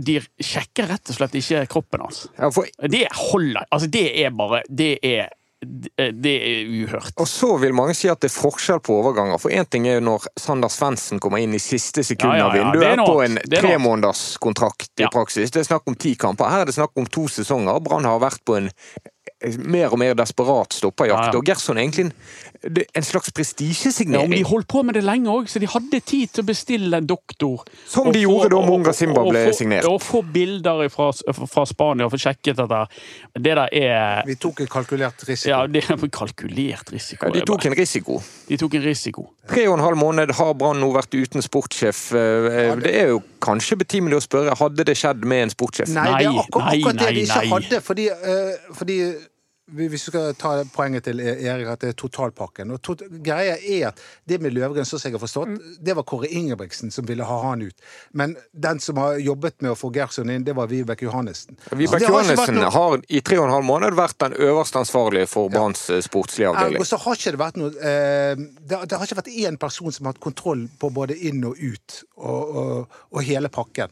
S4: de sjekker rett og slett ikke kroppen hans.
S2: Ja, for
S4: Det holder Altså, det er bare Det er, det er uhørt.
S2: Og så vil mange si at det er forskjell på overganger. For én ting er jo når Sander Svendsen kommer inn i siste sekund
S4: Ja, ja,
S2: av
S4: ja, det er
S2: vinduet
S4: noe
S2: på en
S4: annet. Det er noe annet.
S2: tremånederskontrakt i
S4: Ja.
S2: praksis. Det er snakk om ti kamper. Her er det snakk om to sesonger. Brann har vært på en eh, mer og mer desperat stopperjakt.
S4: Ja, ja.
S2: Og Gerson er egentlig en, det er en slags
S4: Ja, men
S2: prestisjesignering.
S4: de holdt på med det lenge òg, så de hadde tid til å bestille en doktor.
S2: Som
S4: Og
S2: de
S4: få-
S2: gjorde da
S4: og-
S2: Munga
S4: og-
S2: Simba
S4: og
S2: ble
S4: få-
S2: signert.
S4: Og få bilder fra, fra Spania og få sjekket dette. Det der er
S3: Vi tok en kalkulert risiko.
S4: ja, det er en kalkulert risiko.
S2: Ja,
S4: det
S2: de
S4: er
S2: tok
S4: bare-
S2: en risiko.
S4: de tok en risiko.
S2: Tre og en halv måned har Brann nå vært uten sportssjef. Eh, Det er jo kanskje betimelig å spørre hadde det skjedd med en sportssjef.
S3: Nei, det er
S4: Nei,
S3: akkurat,
S4: nei,
S3: akkurat det de
S4: nei,
S3: ikke
S4: nei.
S3: hadde. Fordi, eh, fordi vi- hvis vi skal ta poenget til E- Erik, at det er totalpakken. Og tot greia er at det med Løvgren, sånn som jeg har
S4: Mm.
S3: forstått, det var Kåre Ingebrigtsen som ville ha han ut. Men den som har jobbet med å få Gerson inn, det var Vibeke Johannessen. Så
S2: Vibeke
S3: det har ikke vært
S2: Johannessen
S3: noe-
S2: har i tre og en halv måned vært den øverste ansvarlige for Branns eh, sportslige avdeling.
S3: Ergo så har ikke det vært noe eh, det, det har ikke vært én person som har hatt kontroll på både inn og ut og, og, og hele pakken.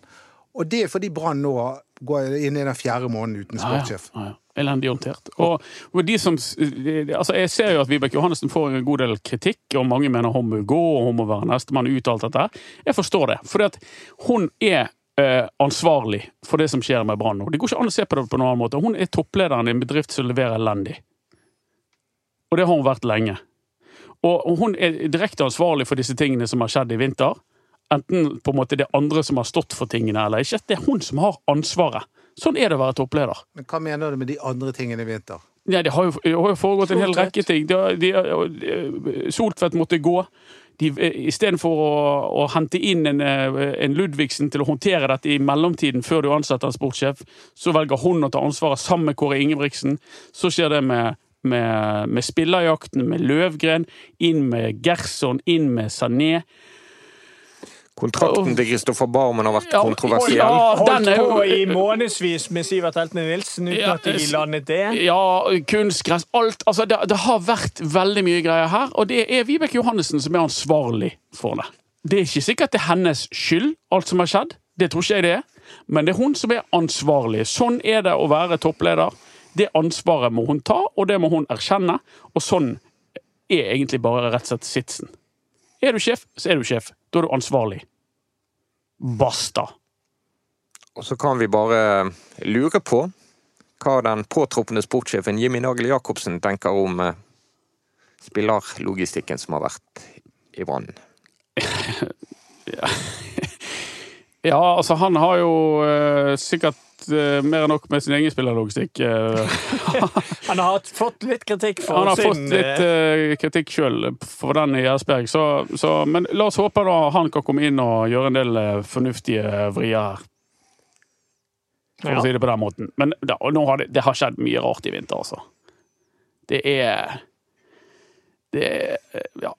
S3: Og det er fordi Brann nå går inn i den fjerde måneden uten
S4: Ja, ja.
S3: sportssjef.
S4: Ja, ja. Elendig håndtert. Og, og de som, altså jeg ser jo at Vibeke Johannessen får en god del kritikk, og mange mener hun må gå, og hun må være nestemann ut, og alt dette. her. Jeg forstår det. fordi at hun er eh, ansvarlig for det som skjer med Brann nå. Det går ikke an å se på det på noen annen måte. Hun er topplederen i en bedrift som leverer elendig. Og det har hun vært lenge. Og og hun er direkte ansvarlig for disse tingene som har skjedd i vinter. Enten på en måte det er andre som har stått for tingene eller ikke. Det er hun som har ansvaret. Sånn er det å være toppleder.
S3: Men hva mener du med de andre tingene i vinter?
S4: Nei, det har jo, det har jo foregått en hel
S5: Soltvedt.
S4: rekke ting. De, har- de, har- Soltvedt måtte gå. De- eh, Istedenfor å, å hente inn en, eh, en Ludvigsen til å håndtere dette i mellomtiden, før du ansetter en sportssjef, så velger hun å ta ansvaret sammen med Kåre Ingebrigtsen. Så skjer det med, med, med spillerjakten, med Løvgren, inn med Gerson, inn med Sané.
S2: Kontrakten til Kristoffer Barmen har vært
S4: Ja,
S2: kontroversiell.
S4: ja, den
S5: Holdt
S4: er jo-
S5: på i månedsvis med Sivert Eltene Nilsen uten
S4: Ja,
S5: at de
S4: s-
S5: landet det.
S4: Ja, kunstgress, alt. Altså, det, det har vært veldig mye greier her, og det er Vibeke Johannessen som er ansvarlig for det. Det er ikke sikkert det er hennes skyld, alt som har skjedd. Det tror ikke jeg det er. Men det er hun som er ansvarlig. Sånn er det å være toppleder. Det ansvaret må hun ta, og det må hun erkjenne. Og sånn er egentlig bare rett og slett sitsen. Er du sjef, så er du sjef. Da er du ansvarlig. Basta.
S2: Og så kan vi bare eh, lure på hva den påtroppende sportssjefen Jimmy Nagel Jacobsen tenker om eh, spillerlogistikken som har vært i Brann.
S4: Ja, altså han har jo eh, sikkert eh, mer enn nok med sin egen spillerlogistikk. eh.
S5: Han har hatt- fått litt kritikk <laughs> for
S4: han har
S5: sin
S4: fått litt eh, kritikk sjøl for den i Gjersberg, så, så Men la oss håpe da han kan komme inn og gjøre en del eh, fornuftige vrier her. For
S5: Ja.
S4: å si det på den måten. Men da, og nå har det, det har skjedd mye rart i vinter, altså. Det er Det er Ja.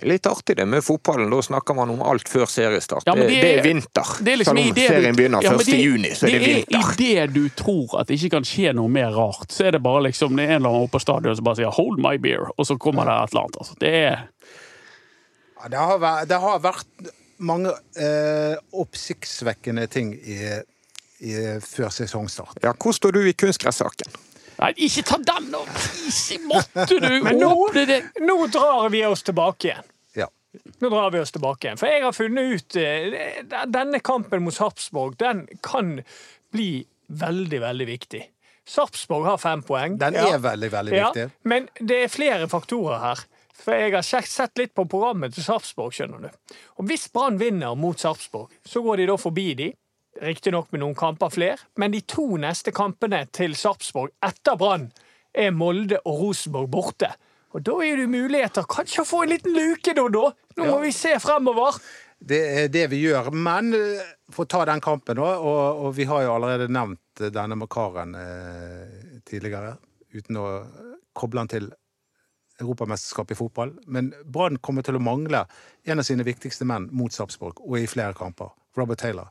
S2: Litt artig det med fotballen. Da snakker man om alt før seriestart.
S4: Ja, men
S2: det,
S4: det
S2: det,
S4: er-
S2: er vinter.
S4: Det er liksom
S2: Selv om
S4: i det du-
S2: serien begynner
S4: Ja, men
S2: 1. juni, så er det, vinter.
S4: Det er idet du tror at det ikke kan skje noe mer rart, så er det bare liksom det er en eller annen oppe på stadion som bare sier 'hold my beer', og så kommer det et eller annet. Altså. Det er
S3: Ja, det, har vært, det har vært mange eh, oppsiktsvekkende ting i, i, før sesongstart.
S2: Ja, hvor står du i kunstgressaken?
S4: Nei, ikke ta den opp! Ikke måtte du
S5: Men nå-
S4: åpne det!
S5: Nå drar vi oss tilbake igjen.
S3: Ja.
S5: Nå drar vi oss tilbake igjen. For jeg har funnet ut eh, Denne kampen mot Sarpsborg den kan bli veldig, veldig viktig. Sarpsborg har fem poeng.
S3: Den
S5: Ja.
S3: er veldig, veldig
S5: Ja,
S3: viktig.
S5: men det er flere faktorer her. For jeg har sjek- sett litt på programmet til Sarpsborg, skjønner du. Og hvis Brann vinner mot Sarpsborg, så går de da forbi de. Riktignok med noen kamper flere, men de to neste kampene til Sarpsborg etter Brann er Molde og Rosenborg borte. Og da er det jo muligheter kanskje å få en liten luke, da, da. Nå må vi se fremover.
S3: Det er det vi gjør. Men eh, for å ta den kampen, da, og, og vi har jo allerede nevnt eh, denne makaren eh, tidligere, uten å eh, koble han til Europamesterskapet i fotball. Men Brann kommer til å mangle en av sine viktigste menn mot Sarpsborg, og i flere kamper. Robert Taylor.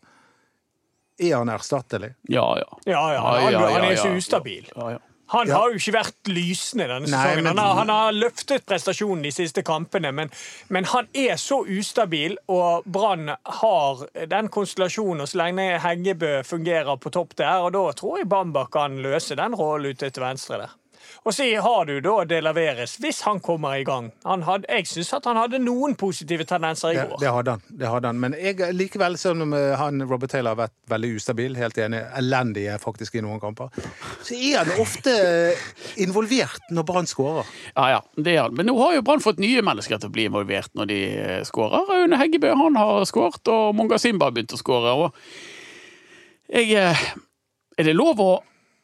S3: Er han erstattelig?
S4: Ja, ja.
S5: Ja, ja,
S4: Ja,
S5: han,
S4: ja,
S5: han
S4: ja,
S5: er så
S4: ja.
S5: ustabil.
S4: ja, ja.
S5: Han har jo ikke vært lysende denne
S3: Nei,
S5: sesongen.
S3: men-
S5: Han, har, han har løftet prestasjonen de siste kampene, men, men han er så ustabil, og Brann har den konstellasjonen. Og så lenge Heggebø fungerer på topp der, og da tror jeg Bamba kan løse den rollen ute til venstre der. Og så har du da De Laveres, hvis han kommer i gang. Han hadde, jeg syns at han hadde noen positive tendenser i
S3: Det,
S5: går.
S3: det hadde han. det hadde han. Men jeg, likevel, selv om eh, han, Robert Taylor har vært veldig ustabil, helt enig, elendig eh, faktisk i noen kamper, så er han ofte eh, involvert når Brann skårer.
S4: ja, ja det er han. Men nå har jo Brann fått nye mennesker til å bli involvert når de eh, skårer. Aune Heggebø han har skåret, og Monga Simba har begynt å skåre. Og jeg eh, Er det lov å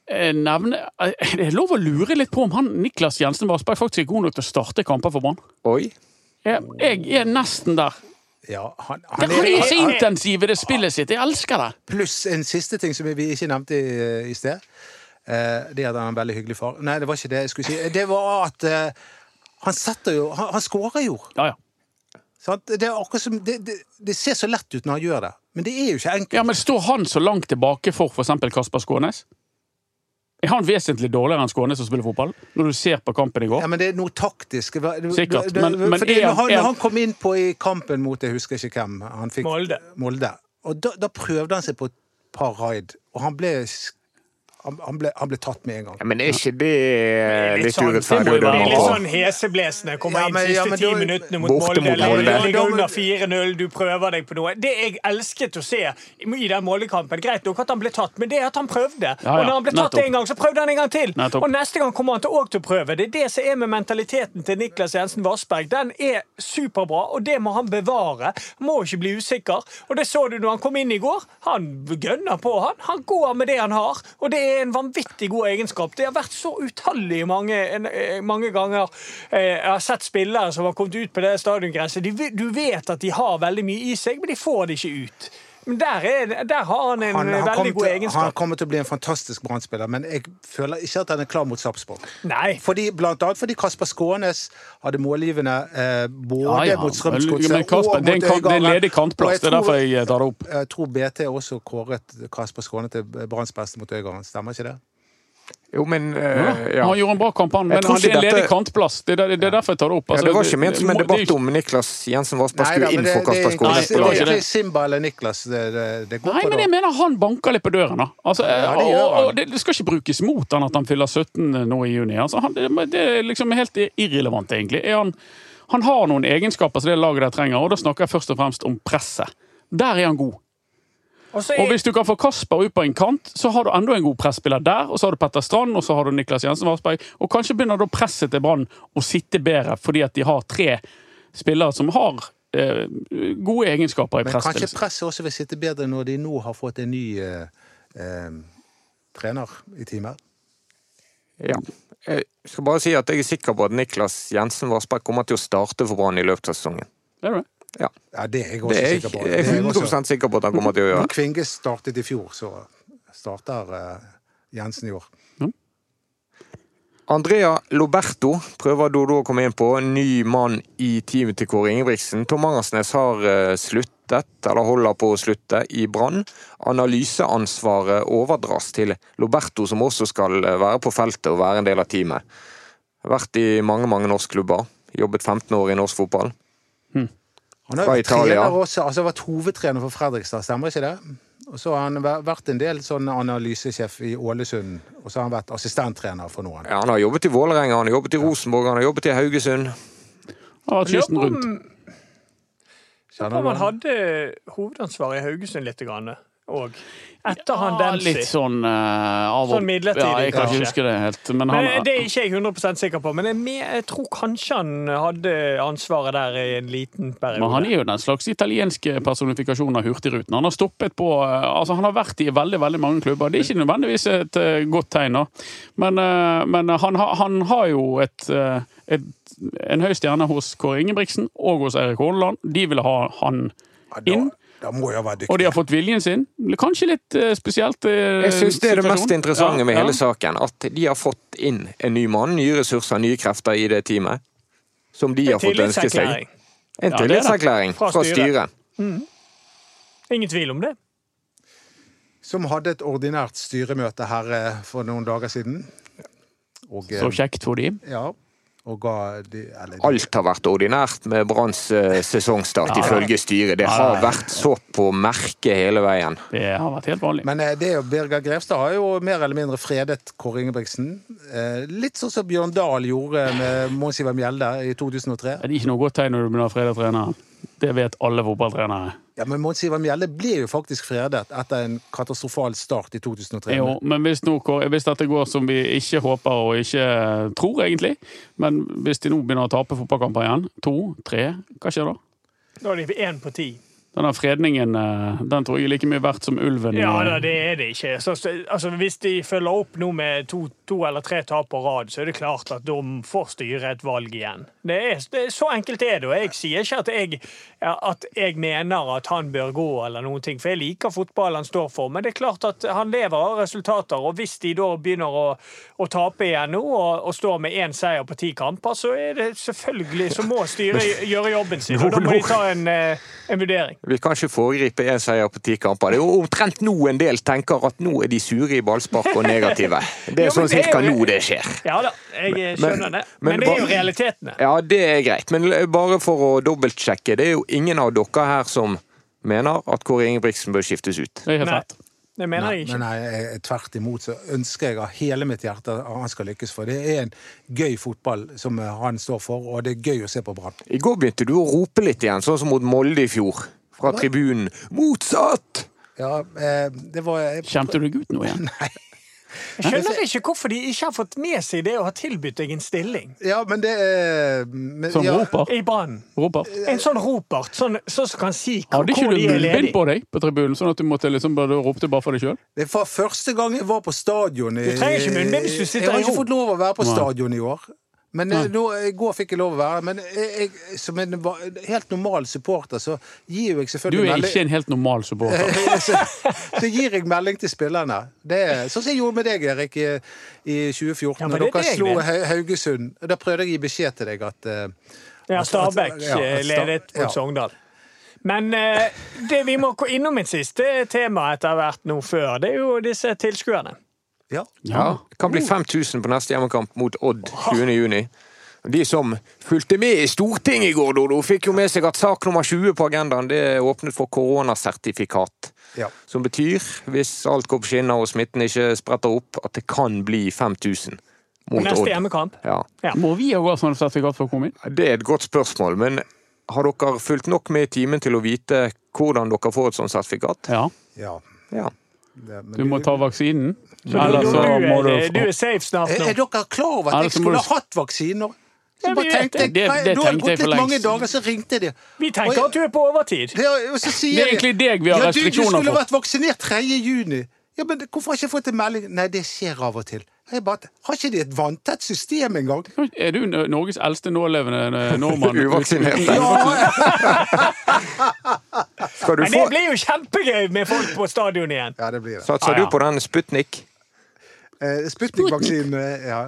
S4: eh, nevne Er det lov å lure litt på om han Niklas Jensen Vassberg faktisk er god nok til å starte kamper for Brann?
S2: Oi.
S4: Jeg, jeg er nesten der.
S3: Ja, han,
S4: Det
S3: han
S4: han er så
S3: han-
S4: intensiv i det spillet sitt. Jeg elsker det.
S3: Pluss en siste ting som vi ikke nevnte i, i sted. Eh, det at han er en veldig hyggelig far. Nei, det var ikke det jeg skulle si. Det var at eh, han setter jo Han, han skårer jo.
S4: Ja, ja.
S3: Sant? Det, er akkurat som, det, det, det ser så lett ut når han gjør det, men det er jo ikke enkelt.
S4: ja men står han så langt tilbake for f.eks. Kasper Skånes? Er han vesentlig dårligere enn Skånes som spiller fotball? Når du ser på kampen i går?
S3: Ja, men det er noe taktisk. Det var- det-
S4: Sikkert,
S3: det-
S4: men- men
S3: fordi
S4: er han-
S3: når, han,
S4: er han-
S3: når han kom inn på i kampen mot jeg husker ikke hvem han fikk
S5: Molde.
S3: Molde. Og da, da prøvde han seg på et par raid, og han ble, sk- han, han ble, han ble tatt med en gang.
S2: Ja, men er ikke det
S5: er litt
S2: litt
S5: sånn-
S4: det
S2: urettferdig å
S4: må jo
S5: Det
S4: være
S5: er
S2: dømme
S5: litt
S2: av?
S5: sånn heseblesende. Kommer
S3: Ja, men-
S5: inn de
S3: ja,
S5: siste
S3: men
S5: ti
S3: da-
S5: minuttene mot
S2: Borte
S5: Molde.
S2: mot
S5: eller
S2: Molde.
S5: Du ligger
S3: Ja, men-
S5: under 4-0, du prøver deg på noe. Det jeg elsket å se i den Molde-kampen, greit nok at han ble tatt, men det er at han prøvde.
S4: ja,
S5: Og når han ble tatt
S4: nettopp.
S5: en gang, så prøvde han en gang til.
S4: Nettopp.
S5: Og neste gang kommer han til òg til å prøve. Det er det som er med mentaliteten til Niklas Jensen Vassberg. Den er superbra, og det må han bevare. Må ikke bli usikker. Og det så du når han kom inn i går. Han gønner på, han. Han går med det han har, og det er en vanvittig god egenskap. Det har vært så utallige mange, en, eh, mange ganger eh, jeg har sett spillere som har kommet ut på det stadiongresset. De, ve- du vet at de har veldig mye i seg, men de får det ikke ut. Men der, er, der har han en
S3: Han, han,
S5: veldig
S3: kommer
S5: god
S3: til, han
S5: egenskap.
S3: kommer til å bli en fantastisk brannspiller, men jeg føler ikke at han er klar mot Sarpsborg.
S5: Nei.
S3: Fordi, blant annet fordi Kasper Skånes hadde målgivende eh, både
S4: Ja, ja.
S3: mot
S4: Men
S3: Strømsgodset
S4: Kasper,
S3: og
S4: det er en
S3: mot
S4: kant- det er en
S3: Øygarden.
S4: ledig kantplass,
S3: Og jeg
S4: det er
S3: tror-
S4: derfor jeg tar det opp.
S3: Jeg tror BT også kåret Kasper Skåne til Branns beste mot Øygarden, stemmer ikke det?
S2: Jo, men eh, ja.
S4: Han gjorde en bra kamp, han,
S2: Jeg
S4: men
S2: tror
S4: han, det er
S2: ikke
S4: en ledig
S2: dette-
S4: kantplass. Det er, der- det er derfor jeg tar det opp.
S2: ja,
S4: Altså,
S2: Det var ikke ment som en
S4: det- det-
S2: debatt om Niklas Jensen Vassberg
S3: Nei, da,
S2: skulle
S3: men
S2: inn
S3: det,
S2: for
S3: det,
S2: Kasper Skånes.
S3: det,
S4: det
S2: Det
S4: var
S2: var
S3: det
S4: ikke
S3: er
S4: det.
S3: ikke Simba eller Niklas det, det, det går
S4: Nei,
S3: på
S4: men jeg
S3: da.
S4: mener han banker litt på døren, da. Altså,
S3: Ja, det gjør
S4: og,
S3: han.
S4: og det, det skal ikke brukes mot han at han fyller 17 nå i juni. Altså, han, det, det er liksom helt irrelevant, egentlig. Er han, han har noen egenskaper som det laget der trenger, og da snakker jeg først og fremst om presset. Der er han god.
S5: Og så
S4: Og
S5: er,
S4: hvis du kan få Kasper ut på en kant, så har du enda en god presspiller der. Og så har du Petter Strand, og så har du Niklas Jensen Varsberg. Og kanskje begynner da presset til Brann å sitte bedre, fordi at de har tre spillere som har eh, gode egenskaper i
S3: Men kanskje
S4: presspillelse.
S3: presset også vil sitte bedre når de nå har fått en ny eh, eh, trener i teamet.
S2: Ja. Jeg skal bare si at jeg er sikker på at Niklas Jensen Vassberg kommer til å starte for Brann i løpet av sesongen.
S4: Er du det?
S3: Ja, det er jeg
S2: Det
S3: også
S2: er jeg,
S3: sikker på.
S2: jeg
S3: Det er
S2: er
S3: jeg også.
S2: 100 sikker på at han kommer til å gjøre.
S3: Når Kvinge startet i fjor, så starter eh, Jensen i år.
S2: Andrea Loberto prøver Dodo å komme inn på. Ny mann i teamet til Kåre Ingebrigtsen. Tom Angersnes har eh, sluttet, eller holder på å slutte, i Brann. Analyseansvaret overdras til Loberto, som også skal eh, være på feltet og være en del av teamet. Vært i mange, mange norskklubber. Jobbet 15 år i norsk fotball.
S3: Han har
S2: Fra
S3: jo vært
S2: Italia.
S3: trener også, altså vært hovedtrener for Fredrikstad, stemmer ikke det? Og så har han væ- vært en del sånn analysesjef i Ålesund, og så har han vært assistenttrener for noen.
S2: Ja, han har jobbet i Vålerenga, han har jobbet i Rosenborg, han har jobbet i Haugesund.
S4: Han har vært kysten
S5: lurer på
S4: rundt.
S5: om-
S3: Kjenner
S5: Om
S3: du
S5: han
S3: han?
S5: hadde hovedansvaret i Haugesund litt òg. Etter han
S4: Ja,
S5: Dempsey.
S4: litt sånn eh, av og
S5: Sånn midlertidig,
S4: Ja, jeg kan
S5: kanskje.
S4: ikke huske det helt. Men han,
S5: Men det er ikke jeg 100 sikker på, men jeg, me- jeg tror kanskje han hadde ansvaret der i en liten
S4: Men han
S5: periode.
S4: er jo den slags italienske personifikasjonen av Hurtigruten. Han har stoppet på eh, Altså, han har vært i veldig veldig mange klubber. Det er ikke nødvendigvis et eh, godt tegn, da. Men, eh, men han, har- han har jo et, eh, et en høy stjerne hos Kåre Ingebrigtsen og hos Eirik Haaland. De ville ha han
S3: Ja,
S4: inn.
S3: Da, da må jeg være
S4: Og
S3: dyktig.
S4: de har fått viljen sin. Kanskje litt eh, spesielt.
S2: Jeg syns det er det mest interessante med hele saken.
S4: saken.
S2: At de har fått inn en ny mann, nye ressurser, nye krefter i det teamet. Som de har fått ønske seg.
S5: Tillitserklæring.
S2: En
S4: Ja, det er det.
S2: tillitserklæring
S5: Fra
S2: fra, styret.
S5: styret. Ingen tvil om det.
S3: Som hadde et ordinært styremøte her eh, for noen dager siden. Og, eh,
S4: Så kjekt for de.
S3: ja, og ga de, eller, de-
S2: Alt har vært ordinært med Branns eh, sesongstart, ifølge styret. Det har vært så på merket hele veien.
S4: Det har vært helt vanlig.
S3: Men eh, det er jo Birger Grevstad har jo mer eller mindre fredet Kåre Ingebrigtsen. Eh, Litt sånn som Bjørn Dahl gjorde med Mons Ivar Mjelde i 2003.
S4: Det er ikke noe godt tegn når du begynner å frede treneren. Det vet alle fotballtrenere.
S3: Ja, Men Mons Ivar Mjelde ble jo faktisk fredet etter en katastrofal start i 2003.
S4: Jo, men hvis, nå, går- hvis dette går som vi ikke håper og ikke eh, tror, egentlig Men hvis de nå begynner å tape fotballkamper igjen, to, tre, hva skjer da?
S5: Da er det én på ti.
S4: Den der fredningen eh, den tror jeg er like mye verdt som ulven. eh,
S5: Ja, da, det er det ikke. Så, så- altså, hvis de følger opp nå med to, to eller tre tap på rad, så er det klart at de får styre et valg igjen. Det er, det er, så enkelt er det. Og jeg sier ikke at jeg, ja, at jeg mener at han bør gå, eller noen ting, for jeg liker fotball han står for. Men det er klart at han lever av resultater, og hvis de da begynner å, å tape igjen nå, og, og står med én seier på ti kamper, så er det selvfølgelig Så må styret gjøre jobben sin, og da må de ta en, eh, en vurdering.
S2: Vi kan ikke foregripe én seier på ti kamper. Det er jo omtrent nå en del tenker at nå er de sure i ballspark og negative. Det
S5: Ja,
S2: er sånn
S5: men det er
S2: cirka
S5: jo-
S2: nå det skjer.
S5: Ja da, jeg skjønner det.
S2: men-
S5: Men det er jo
S2: bare-
S5: realitetene.
S2: Ja, det er greit. Men l- bare for å dobbeltsjekke. Det er jo ingen av dere her som mener at Kåre Ingebrigtsen bør skiftes ut.
S4: Det er helt
S5: Nei,
S4: rett.
S5: det mener jeg
S3: Men
S5: ikke.
S3: nei, jeg- tvert imot så ønsker jeg av hele mitt hjerte at han skal lykkes, for det er en gøy fotball som eh, han står for, og det er gøy å se på Brann.
S2: I går begynte du å rope litt igjen, sånn som mot Molde i fjor. Fra tribunen. Motsatt!
S3: Ja, eh, det var jeg-
S4: Kjemte du deg ut nå
S5: <laughs>
S4: igjen?
S5: Jeg skjønner ikke hvorfor de ikke har fått med seg det å ha tilbudt deg en stilling
S3: Ja, men det eh, men,
S4: Som
S3: ja,
S4: roper?
S5: i Brann.
S4: roper.
S5: En sånn ropert, sånn, sånn som kan si hvor
S4: Hadde ikke
S5: hvor
S4: du
S5: de er
S4: munnbind
S5: ledige.
S4: på deg på tribunen, sånn at du måtte liksom bare ropte bare for deg sjøl?
S3: Det var første gang jeg var på stadion. i-
S5: Du trenger ikke munnbind hvis du sitter
S3: Jeg har
S5: i
S3: ikke
S5: ro.
S3: fått lov å være på
S4: Nei.
S3: stadion i år. Men eh, nå, i går fikk jeg lov å være Men jeg, jeg, som en va- helt normal supporter, så gir jo jeg
S4: Du
S3: selvfølgelig
S4: er
S3: melding
S4: ikke en helt normal
S5: <laughs>
S4: supporter.
S3: så, så gir jeg melding til spillerne. Det er sånn som jeg gjorde med deg, Erik, i, i 2014.
S5: Ja, men
S3: når
S5: det
S3: dere
S5: er det jeg
S3: slo
S5: vet.
S3: Hau- Haugesund. Og Da prøvde jeg å gi beskjed til deg at eh,
S5: Ja, Stabæk
S3: Ja,
S5: eh,
S3: Sta-
S5: ledet mot
S3: ja.
S5: Sogndal. Men eh, det vi må gå innom et siste tema etter hvert nå før, det er jo disse tilskuerne.
S3: Ja.
S2: Ja, det kan bli 5000 på neste hjemmekamp mot Odd 20. juni. De som fulgte med i Stortinget i går, Dodo, fikk jo med seg at sak nummer 20 på agendaen det er åpnet for koronasertifikat.
S3: ja.
S2: Som betyr, hvis alt går på skinner og smitten ikke spretter opp, at det kan bli 5000 mot
S5: Neste
S2: Odd.
S5: hjemmekamp.
S2: Ja.
S4: Må vi òg ha sånn sertifikat for å komme inn?
S2: Det er et godt spørsmål, men Har dere fulgt nok med i timen til å vite hvordan dere får et sånt sertifikat?
S4: Ja.
S3: Ja.
S2: Ja.
S3: Det, men
S4: Du må ta vaksinen.
S5: Du,
S4: Eller
S5: du,
S4: så altså, må
S5: du,
S4: du
S5: er, Eh, du er safe snart
S3: Er,
S5: nå.
S3: er dere klar over
S4: Ja,
S3: at jeg
S4: så må
S3: skulle
S4: du-
S3: ha hatt vaksiner? Så
S5: Ja, vi
S3: bare
S5: vet
S3: tenkte jeg,
S4: det. Det-
S3: nei,
S4: det
S3: Da har det
S4: tenkte jeg
S3: gått
S4: for
S3: litt
S4: lengst.
S3: mange dager, så ringte de.
S5: Vi tenker at du er på overtid.
S3: Ja, og så sier
S4: Det er
S3: de,
S4: egentlig deg vi har
S3: ja, Du, du
S4: restriksjoner
S3: skulle
S4: for.
S3: vært vaksinert 3. juni. Ja, men hvorfor har jeg ikke fått en melding? Nei, det skjer av og til. Jeg bare, har ikke de et vanntett system engang?
S4: Er du N- Norges eldste nålevende
S3: <laughs>
S4: eh, nordmann?
S2: Uvaksinerte.
S3: Ja,
S2: Skal du
S5: Men det
S2: få
S5: blir jo kjempegøy med folk på stadion igjen.
S3: ja det blir det.
S2: Satser
S4: Ah, ja.
S2: du på den Sputnik?
S3: Eh, Sputnik-vaksinen, eh, ja.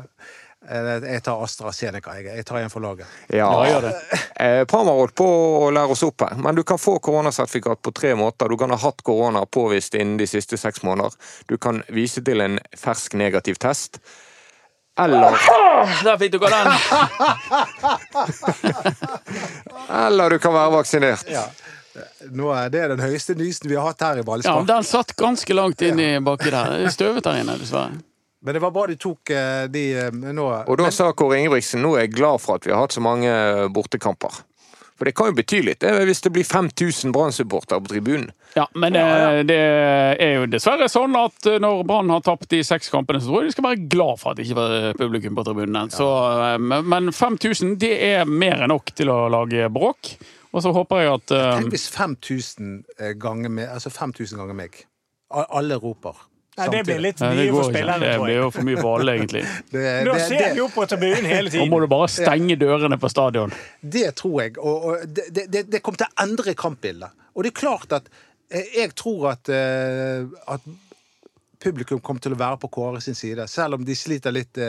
S3: Eh, Jeg tar AstraZeneca, jeg. Jeg tar en for laget.
S2: Ja.
S4: Ja, gjør det.
S2: Eh, Parma holdt på å lære oss opp her, men du kan få koronasertifikat på tre måter. Du kan ha hatt korona påvist innen de siste seks måneder. Du kan vise til en fersk negativ test. Eller,
S4: Ah, Der fikk dere den!
S2: <laughs> eller du kan være vaksinert.
S3: Nå er det den høyeste nysen vi har hatt her i
S4: Ja, men
S3: Ballspark.
S4: Den satt ganske langt inn i baki der. Det er støvet der inne, dessverre.
S3: Men det var bra du tok eh, de eh, nå.
S2: Og da sa Kåre Ingebrigtsen nå er jeg glad for at vi har hatt så mange bortekamper. For det kan jo bety litt det, hvis det blir 5000 Brann-supportere på tribunen.
S4: Ja, men det, det er jo dessverre sånn at når Brann har tapt de seks kampene, så tror jeg de skal være glad for at det ikke var eh, publikum på tribunene. Så, eh, men- men 5000, det er mer enn nok til å lage bråk. Og så håper jeg at eh,
S3: Tenk hvis 5000 ganger, meg- altså 5000 ganger meg. A- Alle roper.
S5: Nei, det blir litt
S4: Nei,
S5: mye for
S4: ikke.
S5: spillerne,
S4: eh, Det
S5: tror
S4: blir
S5: jeg.
S4: jo for mye for alle, egentlig.
S3: Det,
S5: Nå
S3: det,
S5: ser vi
S3: <laughs> det,
S5: jo på tribunen hele
S4: Nå må
S5: tiden.
S4: du bare stenge dørene på stadion.
S3: det tror jeg. Og, og det, det- det, det kommer til å endre kampbildet. Og det er klart at eh, jeg tror at, eh, at publikum kommer til å være på Kåre sin side. Selv om de sliter litt eh,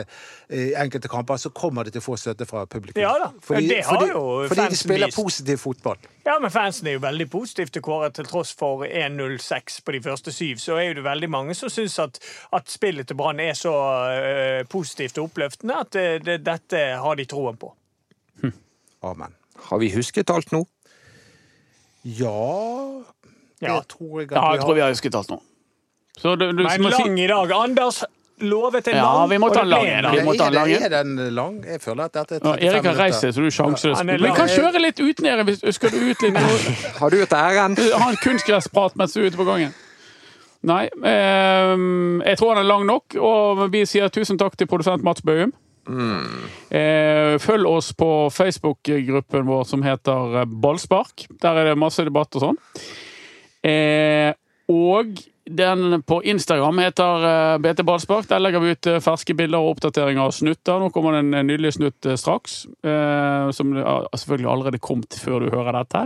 S3: i enkelte kamper, så kommer de til å få støtte fra publikum.
S5: Ja da. Ja, det har jo
S3: fordi
S5: fansen
S3: de spiller
S5: vist.
S3: positiv fotball.
S5: Ja, men Fansen er jo veldig positive til Kåre, til tross for 1-0-6 på de første syv. Så er jo det veldig mange som syns at, at spillet til Brann er så eh, positivt og oppløftende at eh, det, dette har de troen på.
S3: Amen.
S2: Har vi husket alt nå?
S3: Ja det
S5: Ja.
S3: tror jeg at
S4: Ja,
S3: vi
S4: jeg tror vi har husket alt nå. Så du, du,
S5: Men
S4: må si-
S5: lang i dag. Anders lovet en
S4: Ja,
S5: lang,
S4: vi må
S5: og
S4: ta
S5: det ble
S4: lang
S5: en
S4: i dag. Vi må ta en
S3: er,
S4: lang
S3: det-
S4: en.
S3: er den lang? Jeg føler at dette er
S4: ja,
S3: 35
S4: Erik har
S3: minutter.
S4: reist seg, så du er sjanseløs.
S5: Han er
S4: Men vi kan
S5: lang.
S4: kjøre litt uten dere hvis skal du ut litt nå.
S2: <laughs> Har du et ærend?
S4: Ha en kunstgressprat mens du er ute på gangen. Nei. ehm, jeg tror han er lang nok, og vi sier tusen takk til produsent Mats Bøhum. Eh, følg oss på Facebook-gruppen vår som heter eh, Ballspark. Der er det masse debatt og sånn. Eh, og den på Instagram heter eh, BT Ballspark. Der legger vi ut eh, ferske bilder og oppdateringer av snutter. Nå kommer det en eh, nydelig snutt eh, straks, eh, som det har selvfølgelig allerede kommet før du hører dette.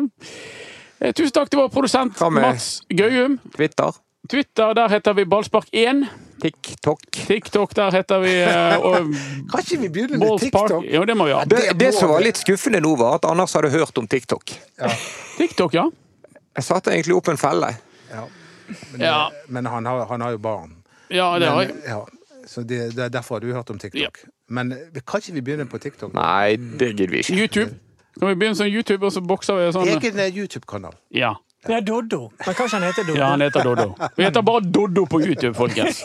S4: Eh, tusen takk til vår produsent
S2: Hva med-
S4: Mats Gøyum.
S2: Twitter?
S4: Twitter, der heter vi Ballspark1.
S2: TikTok?
S4: TikTok, der heter vi eh, og
S3: Kan ikke vi begynne med TikTok?
S4: Ballspark. Jo, det må vi ha.
S2: Det,
S3: Det må
S2: det som var
S3: vi.
S2: litt skuffende nå, var at Anders hadde hørt om TikTok.
S4: TikTok, ja.
S2: Jeg satte egentlig opp en felle.
S3: Ja. Men,
S4: Ja.
S3: men han, har, han har jo barn.
S4: Ja, det har jeg.
S3: Men, ja. Så det, det er derfor du har hørt om TikTok.
S4: Ja.
S3: Men eh, kan ikke vi begynne på TikTok?
S2: Nei, det gidder vi ikke.
S4: YouTube. Kan vi begynne som YouTube, og så bokser vi sånn?
S3: Egen eh, YouTube-kanal.
S4: Ja.
S5: Ja, Doddo. Men kanskje han heter Doddo.
S4: Ja, han heter Doddo. Vi heter bare Doddo på YouTube, folkens.